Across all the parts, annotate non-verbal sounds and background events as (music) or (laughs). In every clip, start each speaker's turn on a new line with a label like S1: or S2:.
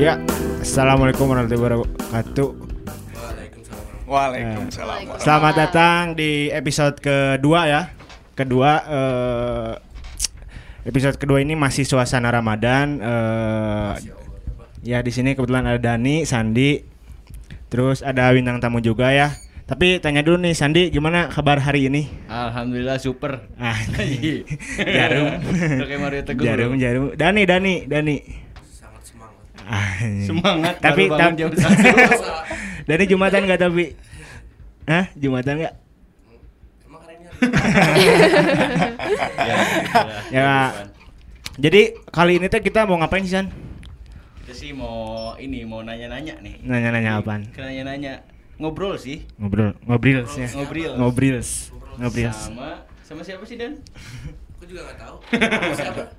S1: Ya, assalamualaikum warahmatullahi wabarakatuh.
S2: Waalaikumsalam.
S1: Selamat datang di episode kedua ya. Kedua eh, episode kedua ini masih suasana Ramadan. eh, ya di sini kebetulan ada Dani, Sandi, terus ada bintang tamu juga ya. Tapi tanya dulu nih Sandi, gimana kabar hari ini?
S3: Alhamdulillah super.
S1: Ah,
S3: jarum.
S1: (laughs) jarum,
S3: Oke Iya. Mario Teguh.
S1: jarum, jarum. Dani, Dani, Dani. Ah, Sangat
S3: Semangat.
S1: Iya. tapi
S3: baru
S1: tapi
S3: bangun jam satu.
S1: (laughs) dari jumatan nggak tapi Hah? jumatan nggak
S3: ya, alhamdulillah.
S1: Ya. (laughs) jadi kali ini teh kita mau ngapain sih san
S3: Kita sih mau ini mau nanya-nanya nih.
S1: Nanya-nanya apaan?
S3: Nanya-nanya ngobrol sih.
S1: ngobrol ngobrils ya
S3: Ngobrils.
S1: ngobrils ngobrils
S3: Sama sama siapa sih Dan?
S4: Aku juga gak
S3: (laughs)
S4: tahu.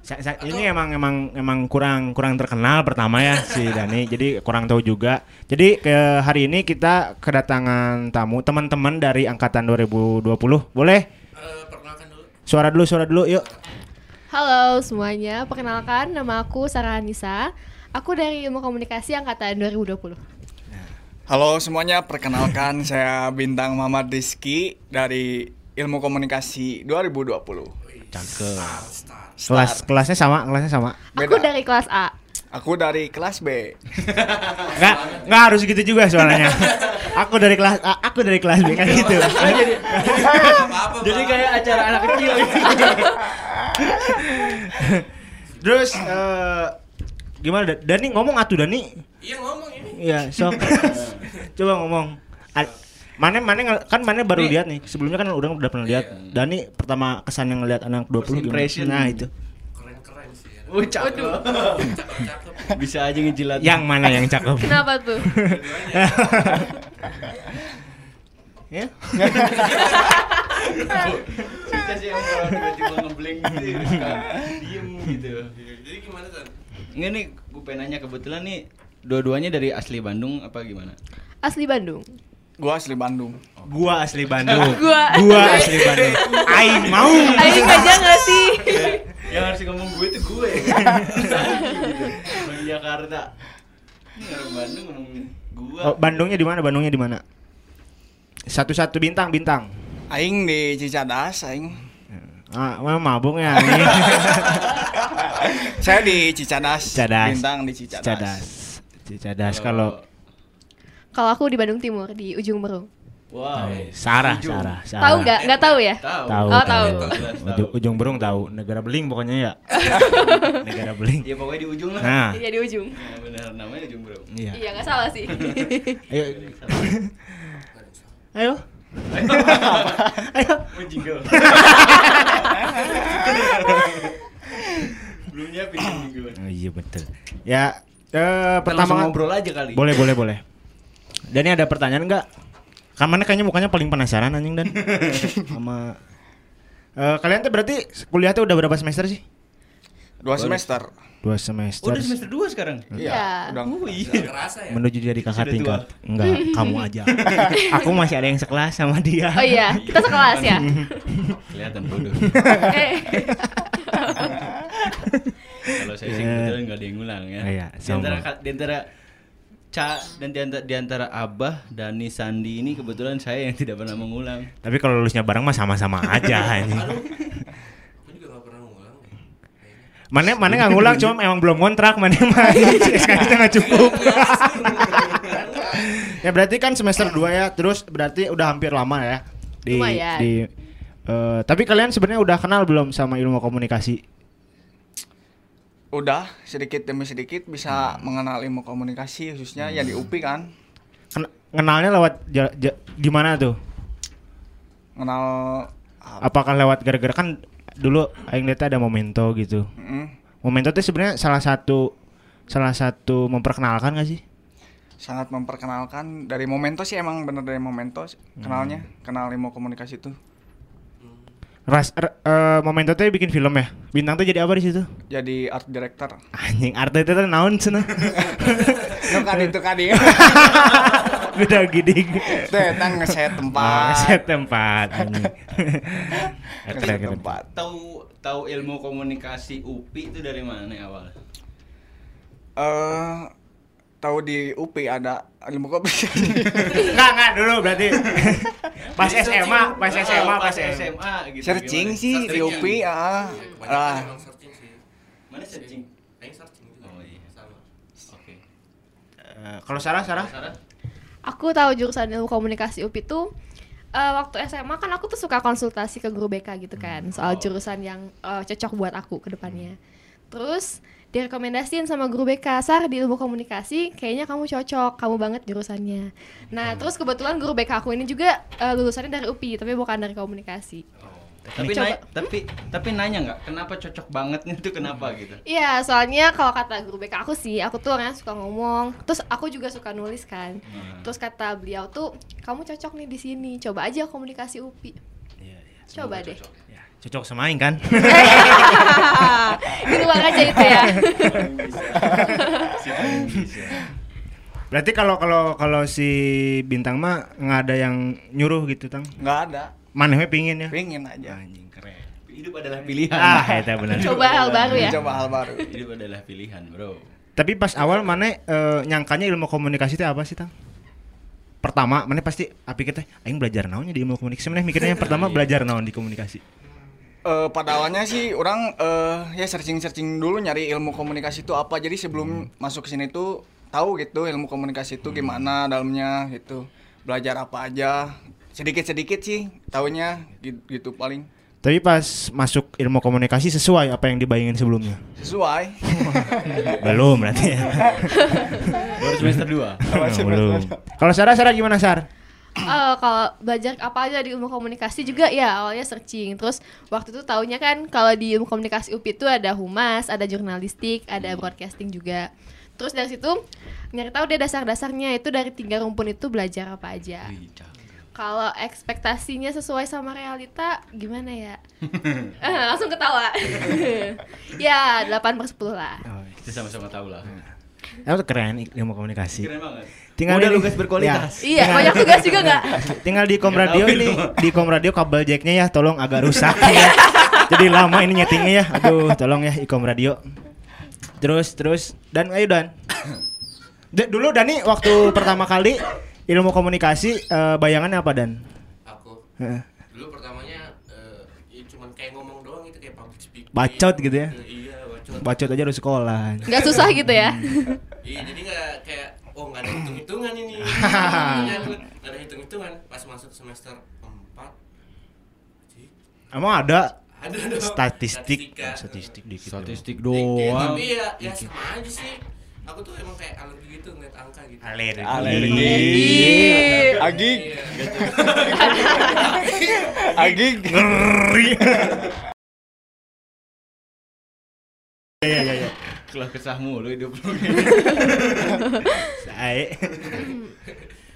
S1: Sa- sa- ini emang emang emang kurang kurang terkenal pertama ya si Dani jadi kurang tahu juga jadi ke hari ini kita kedatangan tamu teman-teman dari angkatan 2020 boleh
S4: Eh, perkenalkan dulu.
S1: suara dulu suara dulu yuk
S5: Halo semuanya, perkenalkan nama aku Sarah Anissa. Aku dari Ilmu Komunikasi angkatan 2020.
S2: Halo semuanya, perkenalkan (laughs) saya Bintang Muhammad Rizky dari Ilmu Komunikasi 2020.
S1: cangkem kelas kelasnya sama kelasnya sama
S5: Aku
S2: Beda.
S5: dari kelas A.
S2: Aku dari kelas B.
S4: Ah,
S1: Nggak, nggak harus gitu juga
S4: (laughs)
S1: soalnya. aku dari kelas A, aku dari kelas B kan gitu.
S4: Apa-apa,
S3: Jadi kayak acara anak kecil. gitu.
S1: Terus eh, gimana Da- Dani ngomong atuh Dani?
S4: Iya ngomong ini.
S1: Iya,
S4: (laughs)
S1: sok. Coba ngomong. A- mana mana ngel- kan mana baru lihat nih. Sebelumnya kan udah udah pernah lihat.
S4: Iya.
S1: Dani pertama kesan yang ngelihat anak 20
S3: First impression.
S1: gimana? Nah, itu.
S4: Keren-keren sih. ya.
S3: Wuh, Oh, cakep.
S4: Cakep-cakep.
S3: Bisa aja ngejilat.
S1: Yang mana yang cakep? (laughs)
S5: Kenapa tuh?
S1: ya?
S3: Suka sih yang kalau tiba-tiba ngeblank gitu. suka Diem gitu.
S4: Jadi gimana kan?
S3: Nggak nih, gue pengen nanya kebetulan nih dua-duanya dari asli Bandung apa gimana?
S5: (laughs) Asli Bandung.
S2: Gua asli Bandung.
S1: Gua asli Bandung.
S5: Gua-
S1: asli Bandung. Aing mau.
S5: Aing aja nggak sih?
S3: Yang harus ngomong gue itu gue. Orang Jakarta. Ini orang Bandung ngomong gue.
S1: Oh, Bandungnya di mana? Bandungnya di mana? Satu-satu bintang, bintang.
S2: Aing di Cicadas, aing.
S1: Ah, emang mabuk ya ini.
S2: Saya di Cicadas.
S1: Cicadas.
S2: Bintang di Cicadas.
S1: Cicadas. Cicadas kalau
S5: Kalau aku di Bandung Timur di ujung Merung.
S1: Oh,
S3: wow.
S1: Eh, Sarah,
S3: Setuju.
S1: Sarah, Sarah.
S5: Tahu nggak? Nggak tahu ya?
S3: Tahu.
S1: Tahu. kan
S5: Oh, tahu.
S3: Jelas tahu.
S1: Ujung, ujung berung tahu. Negara Beling pokoknya ya. Negara Beling.
S3: Ya pokoknya di ujung lah. Nah.
S1: Nah,
S5: Iya di ujung.
S3: bener namanya ujung bro.
S1: iya.
S5: Iya nggak salah sih.
S1: Ayo. Ayo. (laughs) Ayo.
S3: Oh
S1: (laughs)
S3: jingle. Belum nyiapin jingle.
S1: Oh, iya betul. Ya, eh,
S3: Kita langsung
S1: pertama
S3: ngobrol aja kali.
S1: Boleh, boleh, boleh. Dani ada pertanyaan nggak? Kamarnya kayaknya mukanya paling penasaran anjing dan sama Eh, kalian tuh berarti kuliah tuh udah berapa semester sih?
S2: Dua semester.
S1: Dua semester.
S3: Udah semester ya? 2 sekarang.
S5: Iya.
S2: Udah.
S3: Oh
S4: Gak
S3: iya.
S4: kerasa ya?
S1: menuju jadi kakak
S3: Sudah
S1: tingkat. Enggak, kamu aja. Aku masih ada yang sekelas sama dia.
S5: (laughs) Oh iya, kita sekelas ya.
S3: Kelihatan bodoh.
S5: Eh,
S3: Kalau saya sih
S1: Iya.
S3: kebetulan nggak ada yang ngulang ya.
S1: Iya,
S3: di antara
S1: sama.
S3: ka- di antara Ca dan di antara, di antara Abah Dani Sandi ini kebetulan saya yang tidak pernah mengulang.
S1: Tapi kalau lulusnya bareng mah sama-sama
S4: (laughs)
S1: aja ini.
S4: Aku juga gak pernah ngulang. ya. Kayaknya.
S1: Mana mana nggak ngulang, cuma emang belum kontrak, mana mah
S4: (laughs)
S1: SKS kita nggak cukup.
S4: Iya,
S1: ya berarti kan semester 2 ya, terus berarti udah hampir lama ya di
S5: Lumayan.
S1: di eh, tapi kalian sebenarnya udah kenal belum sama ilmu komunikasi?
S2: Udah sedikit demi sedikit bisa mengenal ilmu komunikasi khususnya ya di UPI kan.
S1: Ken- kenalnya lewat ja- ja- gimana tuh?
S2: Kenal
S1: Apakah lewat gara-gara kan dulu aing lihat ada momento gitu. Momento itu sebenarnya salah satu salah satu memperkenalkan gak sih?
S2: sangat memperkenalkan dari Momento sih emang bener dari Momento sih kenalnya kenal ilmu komunikasi itu
S1: Ras, er, eh, Momento tuh bikin film ya. Bintang tuh jadi apa di situ?
S2: jadi art (laughs) director
S1: Anjing, Arte itu tuh naon cenah.
S2: itu kan itu kan
S1: (laughs)
S2: (laughs)
S1: Beda gini.
S2: datang Nah, ngeset gitu. tempat
S1: Set tempat anjing.
S2: ngeset tempat
S3: Tahu tahu ilmu komunikasi UPI itu dari mana awal?
S2: eh tahu di UP ada ilmu komunikasi. (laughs)
S1: Enggak, enggak dulu berarti. pas
S3: Jadi
S1: SMA,
S3: searching.
S1: pas
S3: Ah,
S1: SMA,
S3: pas
S1: pas SMA.
S3: SMA gitu.
S2: searching
S3: gimana?
S2: sih di
S4: Searching.
S2: UP, ah.
S4: Kebanyakan
S2: Lah,
S4: emang searching sih.
S3: Mana searching?
S4: Yang searching juga.
S3: Oh, iya.
S4: Sama.
S3: Oke.
S1: Eh, Kalau Sarah, Sarah?
S3: Sarah?
S5: Aku tahu jurusan ilmu komunikasi UP itu eh, waktu SMA kan aku tuh suka konsultasi ke guru BK gitu kan
S3: Oh.
S5: soal jurusan yang eh, cocok buat aku ke depannya. Terus direkomendasiin sama guru BK, Sar di ilmu komunikasi kayaknya kamu cocok, kamu banget jurusannya.
S3: Hmm.
S5: Nah, terus kebetulan guru BK aku ini juga eh, lulusannya dari UPI tapi bukan dari komunikasi.
S3: Oh. Tapi,
S5: Coba.
S3: nanya, tapi tapi nanya nggak kenapa cocok bangetnya tuh kenapa (laughs) gitu?
S5: Iya, soalnya kalau kata guru BK aku sih, aku tuh orangnya suka ngomong, terus aku juga suka nulis kan.
S3: Hmm.
S5: Terus kata beliau tuh, kamu cocok nih di sini, coba aja komunikasi UPI. Coba deh.
S1: Ya, Iya, cocok sama Aing kan?
S5: Di luar aja (laughs) itu (laughs) ya.
S1: (laughs) berarti kalau kalau kalau si Bintang mah nggak ada yang nyuruh gitu, Tang.
S2: nggak ada.
S1: Maneh we pingin ya.
S2: Pengen aja.
S1: Anjing keren.
S3: Hidup adalah pilihan.
S1: Ah, eta benar.
S5: Coba hal baru ya.
S2: Coba hal baru.
S3: Hidup adalah pilihan, Bro.
S1: Tapi pas awal Maneh eh, nyangkanya ilmu komunikasi itu apa sih, Tang? Pertama, Maneh pasti apik teh aing belajar naonnya di ilmu komunikasi. Maneh mikirnya yang pertama belajar naon di komunikasi.
S2: Eh, pada awalnya sih orang eh, ya searching-searching dulu nyari ilmu komunikasi itu apa. Jadi
S5: Hmm.
S2: sebelum masuk ke sini tuh tahu gitu ilmu komunikasi itu gimana dalamnya gitu. Belajar apa aja. Sedikit-sedikit sih taunya gi- gitu paling
S1: Tapi pas masuk ilmu komunikasi sesuai apa yang dibayangin sebelumnya?
S5: (laughs)
S2: sesuai.
S1: Belum berarti ya.
S3: Baru semester (laughs) 2.
S1: Belum. Kalau Sarah, Sarah gimana, Sar?
S5: Eh, kalau belajar apa aja di ilmu komunikasi juga ya awalnya searching. Terus waktu itu taunya kan kalau di ilmu komunikasi UPI itu ada humas, ada jurnalistik, ada broadcasting juga. Terus dari situ nyari tahu deh dasar-dasarnya itu dari tiga rumpun itu belajar apa aja. Kalau ekspektasinya sesuai sama realita gimana ya? Eh, langsung ketawa. (laughs) ya, 8 per 10 lah.
S1: Oh,
S3: Kita sama-sama tahu lah.
S1: Ya, itu iya. keren ilmu komunikasi.
S3: Keren banget.
S1: Tinggal
S3: Udah
S1: di-
S3: lugas berkualitas.
S5: Iya, banyak tugas juga nggak?
S1: Tinggal di kom
S3: Nggak
S1: radio
S3: tahu
S1: ini,
S3: itu.
S1: di kom radio kabel jacknya ya tolong agak rusak. (laughs) ya. Jadi lama ini nyetingnya ya. Aduh, tolong ya ikom radio. Terus terus dan ayo Dan. D- dulu Dani waktu pertama kali ilmu komunikasi eh, bayangannya apa Dan?
S4: Aku
S1: Heeh.
S4: dulu pertamanya eh, ya cuman kayak ngomong doang itu kayak public speaking.
S1: Bacot gitu ya?
S4: Eh, Iya, bacot.
S1: Bacot aja udah sekolah.
S5: Nggak susah gitu ya?
S4: Iya, jadi nggak kayak oh nggak ada
S1: (clears throat)
S4: hitung-hitungan
S1: (laughs)
S4: ini. Iya, aku nggak ada hitung-hitungan pas masuk semester 4
S1: Emang ada
S4: ada dong
S1: statistik
S4: statistika.
S1: statistik Iya. dikit.
S3: Statistik
S4: Dikit,
S3: doang.
S4: tapi ya, ya sama aja sih aku tuh emang kayak alergi gitu ngeliat angka gitu
S1: Alergi. Iya.
S2: Alergi. Agik.
S1: Gitu ya.
S4: Iya.
S2: Agik.
S1: Iya iya iya.
S3: Kelah kesah mulu hidup lu. (laughs)
S1: Sae.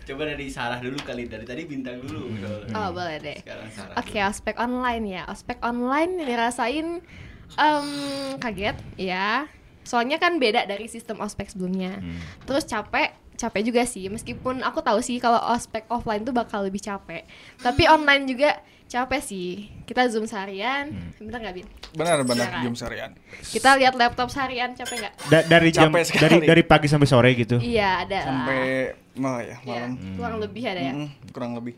S3: Coba dari Sarah dulu kali dari tadi bintang dulu.
S5: Oh, boleh deh.
S3: Sekarang Sarah.
S5: Oke, ospek online ya. Ospek online yang dirasain em, kaget ya. Soalnya kan beda dari sistem ospek sebelumnya. Terus capek, capek juga sih. Meskipun aku tahu sih kalau ospek offline tuh bakal lebih capek. Tapi online juga capek sih. Kita zoom seharian, bener nggak bin?
S2: Benar-benar
S5: Siaran.
S2: jam seharian.
S5: Kita lihat laptop seharian, capek nggak?
S1: Da- dari jam
S2: Capek sekali.
S1: dari dari pagi sampai sore gitu.
S5: Iya ada. lah.
S2: Sampai oh ya,
S5: Ya,
S2: malam.
S5: kurang lebih ada
S3: Hmm.
S5: ya.
S2: Mm-mm, kurang lebih.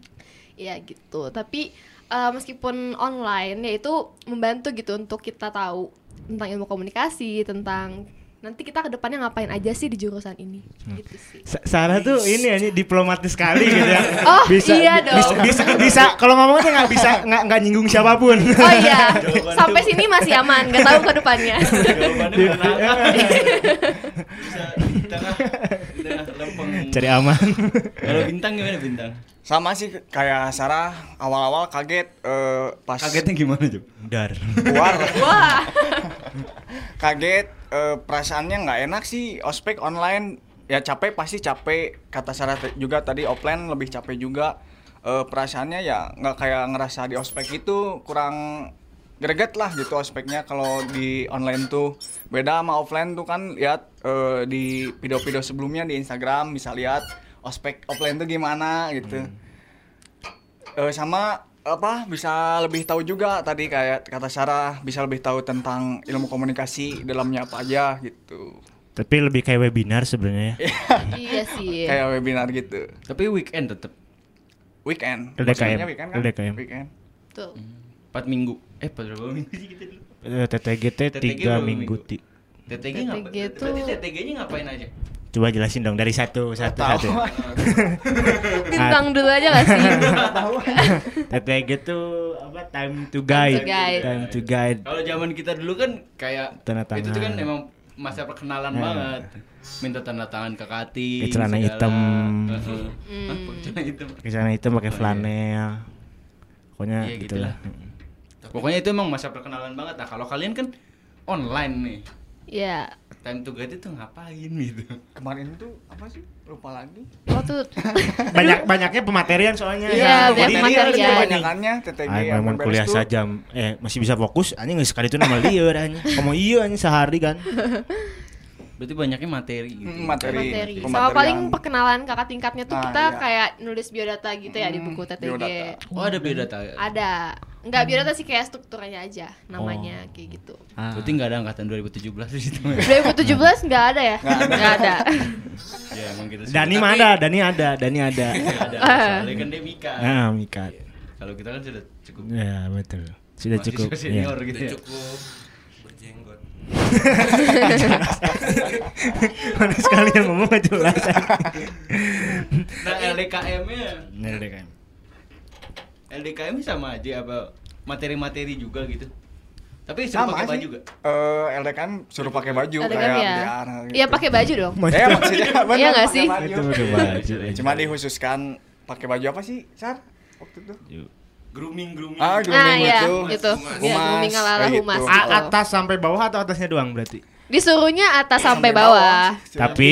S5: Iya gitu. Tapi eh, meskipun online ya itu membantu gitu untuk kita tahu tentang ilmu komunikasi, tentang nanti kita ke depannya ngapain aja sih di jurusan ini. Gitu sih.
S1: Sa- Sarah tuh ini aja diplomatis sekali gitu ya.
S5: (laughs) Oh, iya dong.
S1: Bisa, bisa, bisa kalau ngomong tuh nggak bisa nggak nggak nyinggung siapapun.
S5: Oh iya,
S3: Jawaban
S5: sampai
S3: tuh.
S5: sini masih aman, nggak tahu ke
S2: (laughs)
S5: depannya.
S3: (laughs) Jawabannya menantang. Bisa di tengah di tengah lempeng.
S1: Cari aman.
S3: Kalau bintang gimana bintang?
S2: Sama sih kayak Sarah awal-awal kaget eh, pas
S3: Kagetnya gimana, Jum?
S1: Dar.
S2: keluar
S5: (laughs) Wah,
S2: kaget eh, perasaannya nggak enak sih ospek online ya capek pasti capek kata Sarah te- juga tadi offline lebih capek juga Eh, perasaannya ya nggak kayak ngerasa di ospek itu kurang greget lah gitu ospeknya kalau di online tuh beda sama offline tuh kan lihat eh, di video-video sebelumnya di Instagram bisa lihat ospek offline tuh gimana gitu Eh, sama apa bisa lebih tahu juga tadi kayak kata Sarah bisa lebih tahu tentang ilmu komunikasi dalamnya apa aja gitu.
S1: Tapi lebih kayak webinar sebenarnya. ya.
S5: iya sih
S2: kayak webinar gitu
S3: Tapi weekend tetap
S2: weekend
S1: LDKM.
S2: Maksudnya weekend kan
S1: LDKM.
S2: weekend
S5: Tuh.
S3: 4 minggu. Eh, berapa minggu sih kita dulu?
S1: Eh, TTGT
S3: TTG
S1: tiga
S3: berapa
S1: minggu.
S3: minggu?
S1: Ti.
S3: TTG
S5: TTG
S3: ngapain?
S5: tuh-
S3: Berarti TTG-nya ngapain aja?
S1: Coba jelasin dong dari satu satu
S2: Tahu.
S1: satu.
S5: bintang dulu aja gak sih
S1: TTG tuh apa time to guide.
S5: guide.
S1: Time to guide.
S3: Kalau zaman kita dulu kan kayak
S1: Tanda
S3: itu tuh
S1: tangan.
S3: kan emang masa perkenalan
S1: Nah.
S3: banget. Minta tanda tangan ke kating.
S1: Ke celana
S3: segala.
S1: hitam.
S3: Heeh. Hah, pakai celana hitam.
S1: Ke sana itu pakai flanel. Pokoknya
S3: Oh, Iya,
S1: gitulah.
S3: Pokoknya itu emang masa perkenalan banget. Nah, kalau kalian kan online nih.
S5: ya
S3: Time to guide itu ngapain gitu.
S2: (laughs) kemarin tuh apa sih lupa lagi
S5: oh tuh
S1: Banyak banyaknya pematerian soalnya.
S5: Iya, banyak
S1: Jadi-
S5: materian.
S2: Jadi kebanyakannya TTG
S1: Aing
S2: yang
S1: Ah, memang
S2: beres
S1: kuliah
S2: tuh,
S1: saja eh masih bisa fokus anjing geus sekali itu nama lieur (laughs) anjing. Komo ieu anjing sehari kan.
S3: Berarti banyaknya materi gitu.
S2: mm, materi,
S5: materi sama
S2: pematerian.
S5: paling perkenalan kakak tingkatnya tuh
S2: Nah,
S5: kita
S2: iya.
S5: kayak nulis biodata gitu ya di buku
S2: Hmm,
S5: TTG
S2: biodata.
S3: Oh, ada beda tak?
S5: ada nggak biodata sih kayak strukturnya aja namanya kayak gitu
S1: Ah.
S3: Berarti nggak ada angkatan 2017 di situ.
S1: (laughs)
S5: 2017 nggak ada ya nggak ada
S3: ya emang kita semua.
S1: Dani
S3: Tapi
S1: mah ada, Dani ada, Dani ada.
S3: (laughs) nggak ada. Soalnya kan dia Mika.
S1: Nah, mikat.
S3: Kalau kita kan sudah cukup.
S1: Ya, betul. Sudah
S3: mahasiswa
S1: cukup. ya.
S3: Senior gitu
S4: Udah
S3: ya.
S4: cukup berjenggot.
S1: (laughs) Mana sekali yang ngomong gak jelas.
S3: Nah, LDKM-nya
S1: Nerdek
S3: LDKM sama aja apa materi-materi juga gitu. Tapi suruh
S2: sama
S3: pakai
S2: sih
S3: baju juga.
S2: Eh, LDKM suruh pakai baju
S5: ada
S2: kayak
S5: kan ya
S2: biar gitu.
S5: iya
S2: (laughs)
S5: pakai baju dong
S2: Eh, maksudnya bener,
S5: Iya nggak
S2: pakai
S5: sih?
S2: baju.
S1: Itu udah baju. anjing.
S2: Cuma dihususkan pakai baju apa sih, Sar? Waktu itu.
S3: Grooming grooming.
S2: Ah,
S5: ah
S2: grooming
S5: iya
S2: itu.
S5: gitu
S4: Humas.
S5: ya grooming ala ala
S2: kayak gitu.
S1: A-
S5: humas gitu.
S1: atas Ah, sampai bawah atau atasnya doang berarti?
S5: disuruhnya atas sampai bawah
S1: Tapi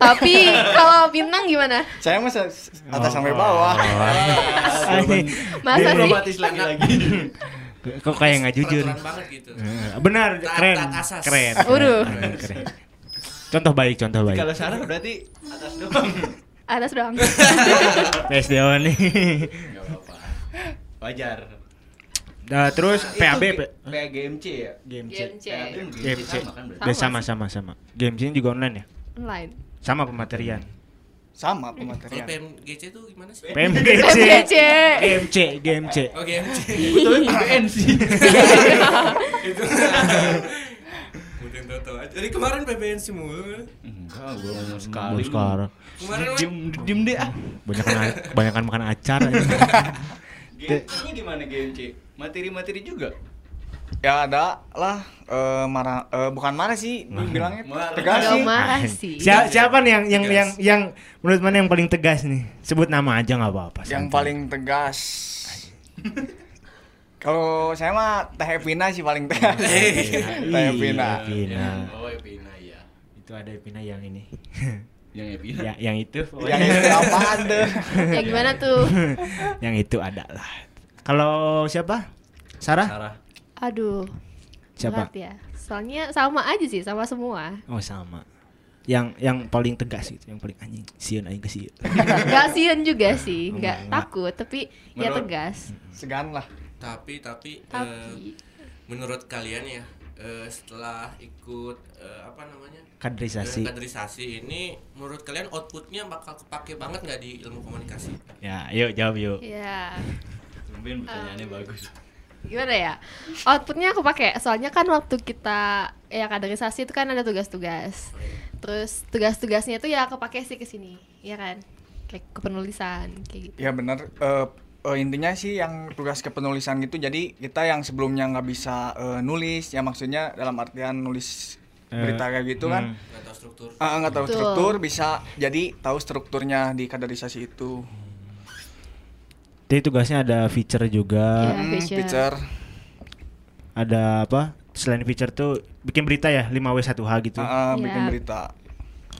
S5: tapi kalau bintang gimana
S2: Saya masa atas sampai
S1: Oh. (laughs)
S2: bawah.
S1: anjing, Iya.
S5: masa sih
S3: Diplomatis lagi-lagi.
S1: kok kayak nggak jujur.
S4: Peraturan banget gitu.
S1: Eh, Benar,
S4: Taat-
S1: keren.
S4: taat asas.
S1: Keren.
S5: Waduh.
S1: keren, keren. Contoh baik, contoh (laughs) baik.
S3: Kalau Sarah berarti atas doang.
S5: atas doang
S1: PSDO nih.
S3: Enggak apa-apa. Wajar.
S1: Nah, terus PAB
S3: Itu G- PAGMC ya.
S1: GMC.
S3: PAB
S5: GMC
S3: sama
S1: GMC.
S3: kan berarti.
S1: (laughs) Udah sama sama sama. GMC juga online ya?
S5: online
S1: Sama pematerian.
S2: Sama
S4: Kalau
S2: pematerian.
S4: PMGC itu gimana
S3: Eh,
S4: sih?
S1: PMGC.
S5: PMGC.
S1: GMC, GMC.
S4: Oke, MC.
S3: Betul BNC.
S4: Itu. Mungkin tahu aja. Jadi kemarin PBNC mulu.
S3: (laughs) Enggak, gua ngomong
S1: Mau
S3: sekali.
S1: sekarang
S4: Kemarin
S3: Diem, diem deh ah.
S1: banyakan banyakan makan acar. anjing.
S3: GMC-nya gimana GMC? Materi-materi juga.
S2: Ya ada lah eh marah eh, bukan marah sih, bilangnya
S3: (laughs) Marah. Iya,
S2: tegas
S5: Gak
S2: sih.
S5: marah sih
S1: Sia- siapa nih yang yang
S4: Tegas.
S1: yang yang menurut mana yang paling tegas nih? Sebut nama aja nggak apa-apa.
S2: Yang
S1: santai.
S2: paling tegas. Kalau saya mah Teh Evina sih paling tegas. Teh
S1: Iya,
S2: Evina.
S1: Evina.
S3: Oh, Epina ya.
S1: Itu ada Epina yang
S3: (laughs)
S1: ini.
S3: Yang Epina.
S1: ya, yang itu.
S2: Yang itu apaan tuh?
S5: ya gimana tuh
S1: (laughs) yang itu ada lah. Kalau siapa? Sarah?
S3: Sarah.
S5: aduh
S1: Siapa?
S5: berat ya soalnya sama aja sih sama semua
S1: Oh, sama. Yang yang paling tegas gitu, yang paling anjing. Sieun aing ke
S2: (laughs)
S1: sieun.
S5: Gak sian juga sih, nggak
S1: enggak.
S5: takut, tapi ya
S3: Menurut-
S5: tegas.
S2: Segan lah.
S4: tapi tapi, eh,
S5: Tapi
S4: menurut kalian ya eh, setelah ikut eh, apa namanya
S1: Kaderisasi.
S2: Iya,
S4: eh, kaderisasi ini menurut kalian outputnya bakal kepake banget nggak di ilmu komunikasi
S1: Ya, yuk jawab yuk.
S5: ya
S3: Mungkin pertanyaannya bagus.
S5: gimana ya? Outputnya aku pakai, soalnya kan waktu kita ya kaderisasi itu kan ada tugas-tugas. Terus tugas-tugasnya itu ya aku pakai sih ke sini, ya kan? Kayak kepenulisan kayak gitu.
S2: Ya benar. Eh, eh, intinya sih yang tugas kepenulisan gitu. Jadi kita yang sebelumnya nggak bisa eh, nulis, ya maksudnya dalam artian nulis
S1: Eh,
S2: berita kayak gitu kan.
S4: nggak tahu struktur
S2: Eh, nggak tahu
S5: Betul.
S2: struktur bisa jadi tahu strukturnya di kaderisasi itu.
S1: Jadi tugasnya ada feature juga.
S2: Hmm,
S5: Ya, feature.
S2: feature.
S1: ada apa selain feature tuh bikin berita ya 5W1H gitu.
S2: Eh, eh, bikin
S5: Ya.
S2: berita.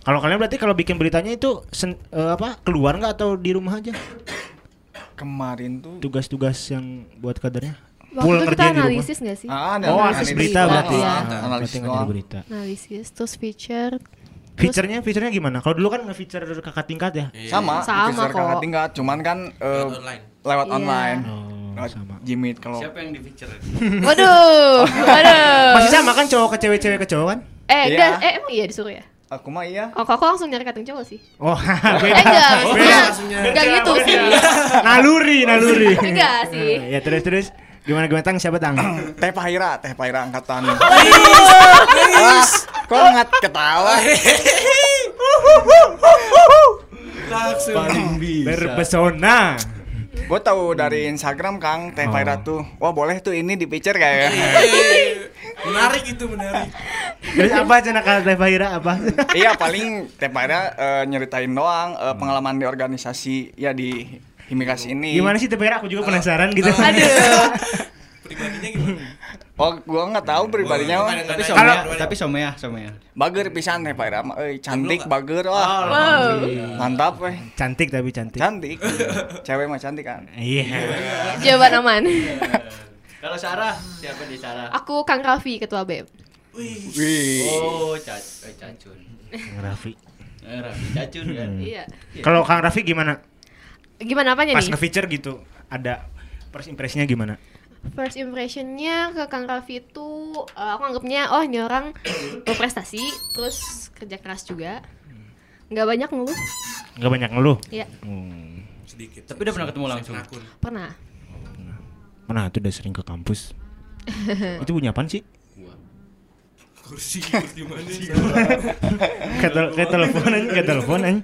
S1: Kalau kalian berarti kalau bikin beritanya itu sen- eh, apa keluar nggak atau di rumah aja?
S2: Kemarin tuh
S1: Tugas-tugas yang buat kadernya? Full
S5: Waktu itu kita
S1: ngerjain di rumah?
S5: analisis nggak sih?
S2: Ah, ada
S1: Oh,
S2: analisis
S1: analisis berita
S5: doang.
S1: berarti.
S5: Iya.
S1: Ah, berarti
S2: Analisis
S1: nggak jadi
S2: doang.
S1: berita.
S5: Analisis, terus
S2: (laughs)
S5: feature
S1: Feature-nya feature-nya gimana? Kalau dulu kan nge-feature kakak tingkat ya?
S4: Iya.
S2: Sama,
S5: Sama
S2: feature
S5: kok.
S2: kakak tingkat, cuman kan eh,
S4: Lewat online.
S2: lewat
S5: Iya.
S2: online.
S1: Oh,
S2: Lewat
S1: sama.
S2: Jimit kalau
S3: Siapa yang di feature?
S5: Waduh, waduh.
S1: Masih sama kan cowok ke cewek, cewek ke cowok kan?
S2: Iya.
S5: Eh, enggak, eh emang iya disuruh ya?
S2: Aku mah iya.
S5: Oh, kok aku langsung nyari kating cowok sih?
S1: Oh, (laughs)
S5: Eh,
S1: beda.
S5: enggak,
S4: Oh,
S5: maksudnya
S4: langsungnya.
S5: enggak gitu sih.
S1: naluri, naluri.
S5: (laughs) Enggak sih.
S1: ya terus terus gimana gimana tang siapa tang?
S2: Teh Pahira, Teh Pahira angkatan. Wah, kok ngat ketawa?
S4: langsung
S1: Berpesona.
S2: Gue tahu dari Instagram Kang Teh Pahira tuh. Wah boleh tuh ini di picture kayaknya.
S4: Eh, (laughs) menarik itu menarik
S1: Terus apa cina kata Fahira apa?
S2: iya paling Teh Pahira eh, nyeritain doang eh, pengalaman di organisasi ya di Himikas ini.
S1: gimana sih Fahira? Aku
S4: Oh.
S1: juga penasaran gitu.
S5: Aduh.
S4: (laughs) pribadinya gimana
S2: Oh, gua nggak tahu pribadinya.
S4: Oh,
S2: wah.
S4: nggak
S3: Tapi
S4: nanya.
S3: somea,
S4: Kalau-
S3: tapi somea, somea.
S2: Bager pisan Teh Pahira, mah, euy, cantik
S4: Jomblo nggak?
S2: bager wah.
S5: Wow.
S2: Mantap weh.
S1: (laughs) Cantik tapi cantik.
S2: Cantik. Cewek mah cantik kan.
S1: Iya.
S5: Jawaban aman.
S3: Kalau Sarah, siapa di Sarah?
S5: Aku Kang Raffi ketua E BEM.
S4: wih
S2: Wih.
S3: Oh, ca eh, cacun.
S1: Kang Raffi.
S3: Eh, Raffi cacun kan.
S2: Hmm.
S5: Iya.
S1: Kalau Kang Raffi gimana?
S5: Gimana apanya
S1: Pas
S5: nih?
S1: nge-feature gitu ada first impressionnya gimana?
S5: First impressionnya ke Kang Raffi itu eh, aku anggapnya oh ini orang berprestasi, terus kerja keras juga. Nggak banyak ngeluh.
S1: Gak banyak ngeluh.
S5: Iya,
S1: Hmm.
S4: sedikit
S3: Tapi udah pernah ketemu langsung? (laughs)
S4: akun
S5: pernah.
S1: Mana tuh udah sering ke
S5: (laughs)
S1: kampus. itu punya apaan sih?
S4: kursi kursi mana Sarah?
S1: Kayak tel- kayak telepon aja, kayak telepon aja.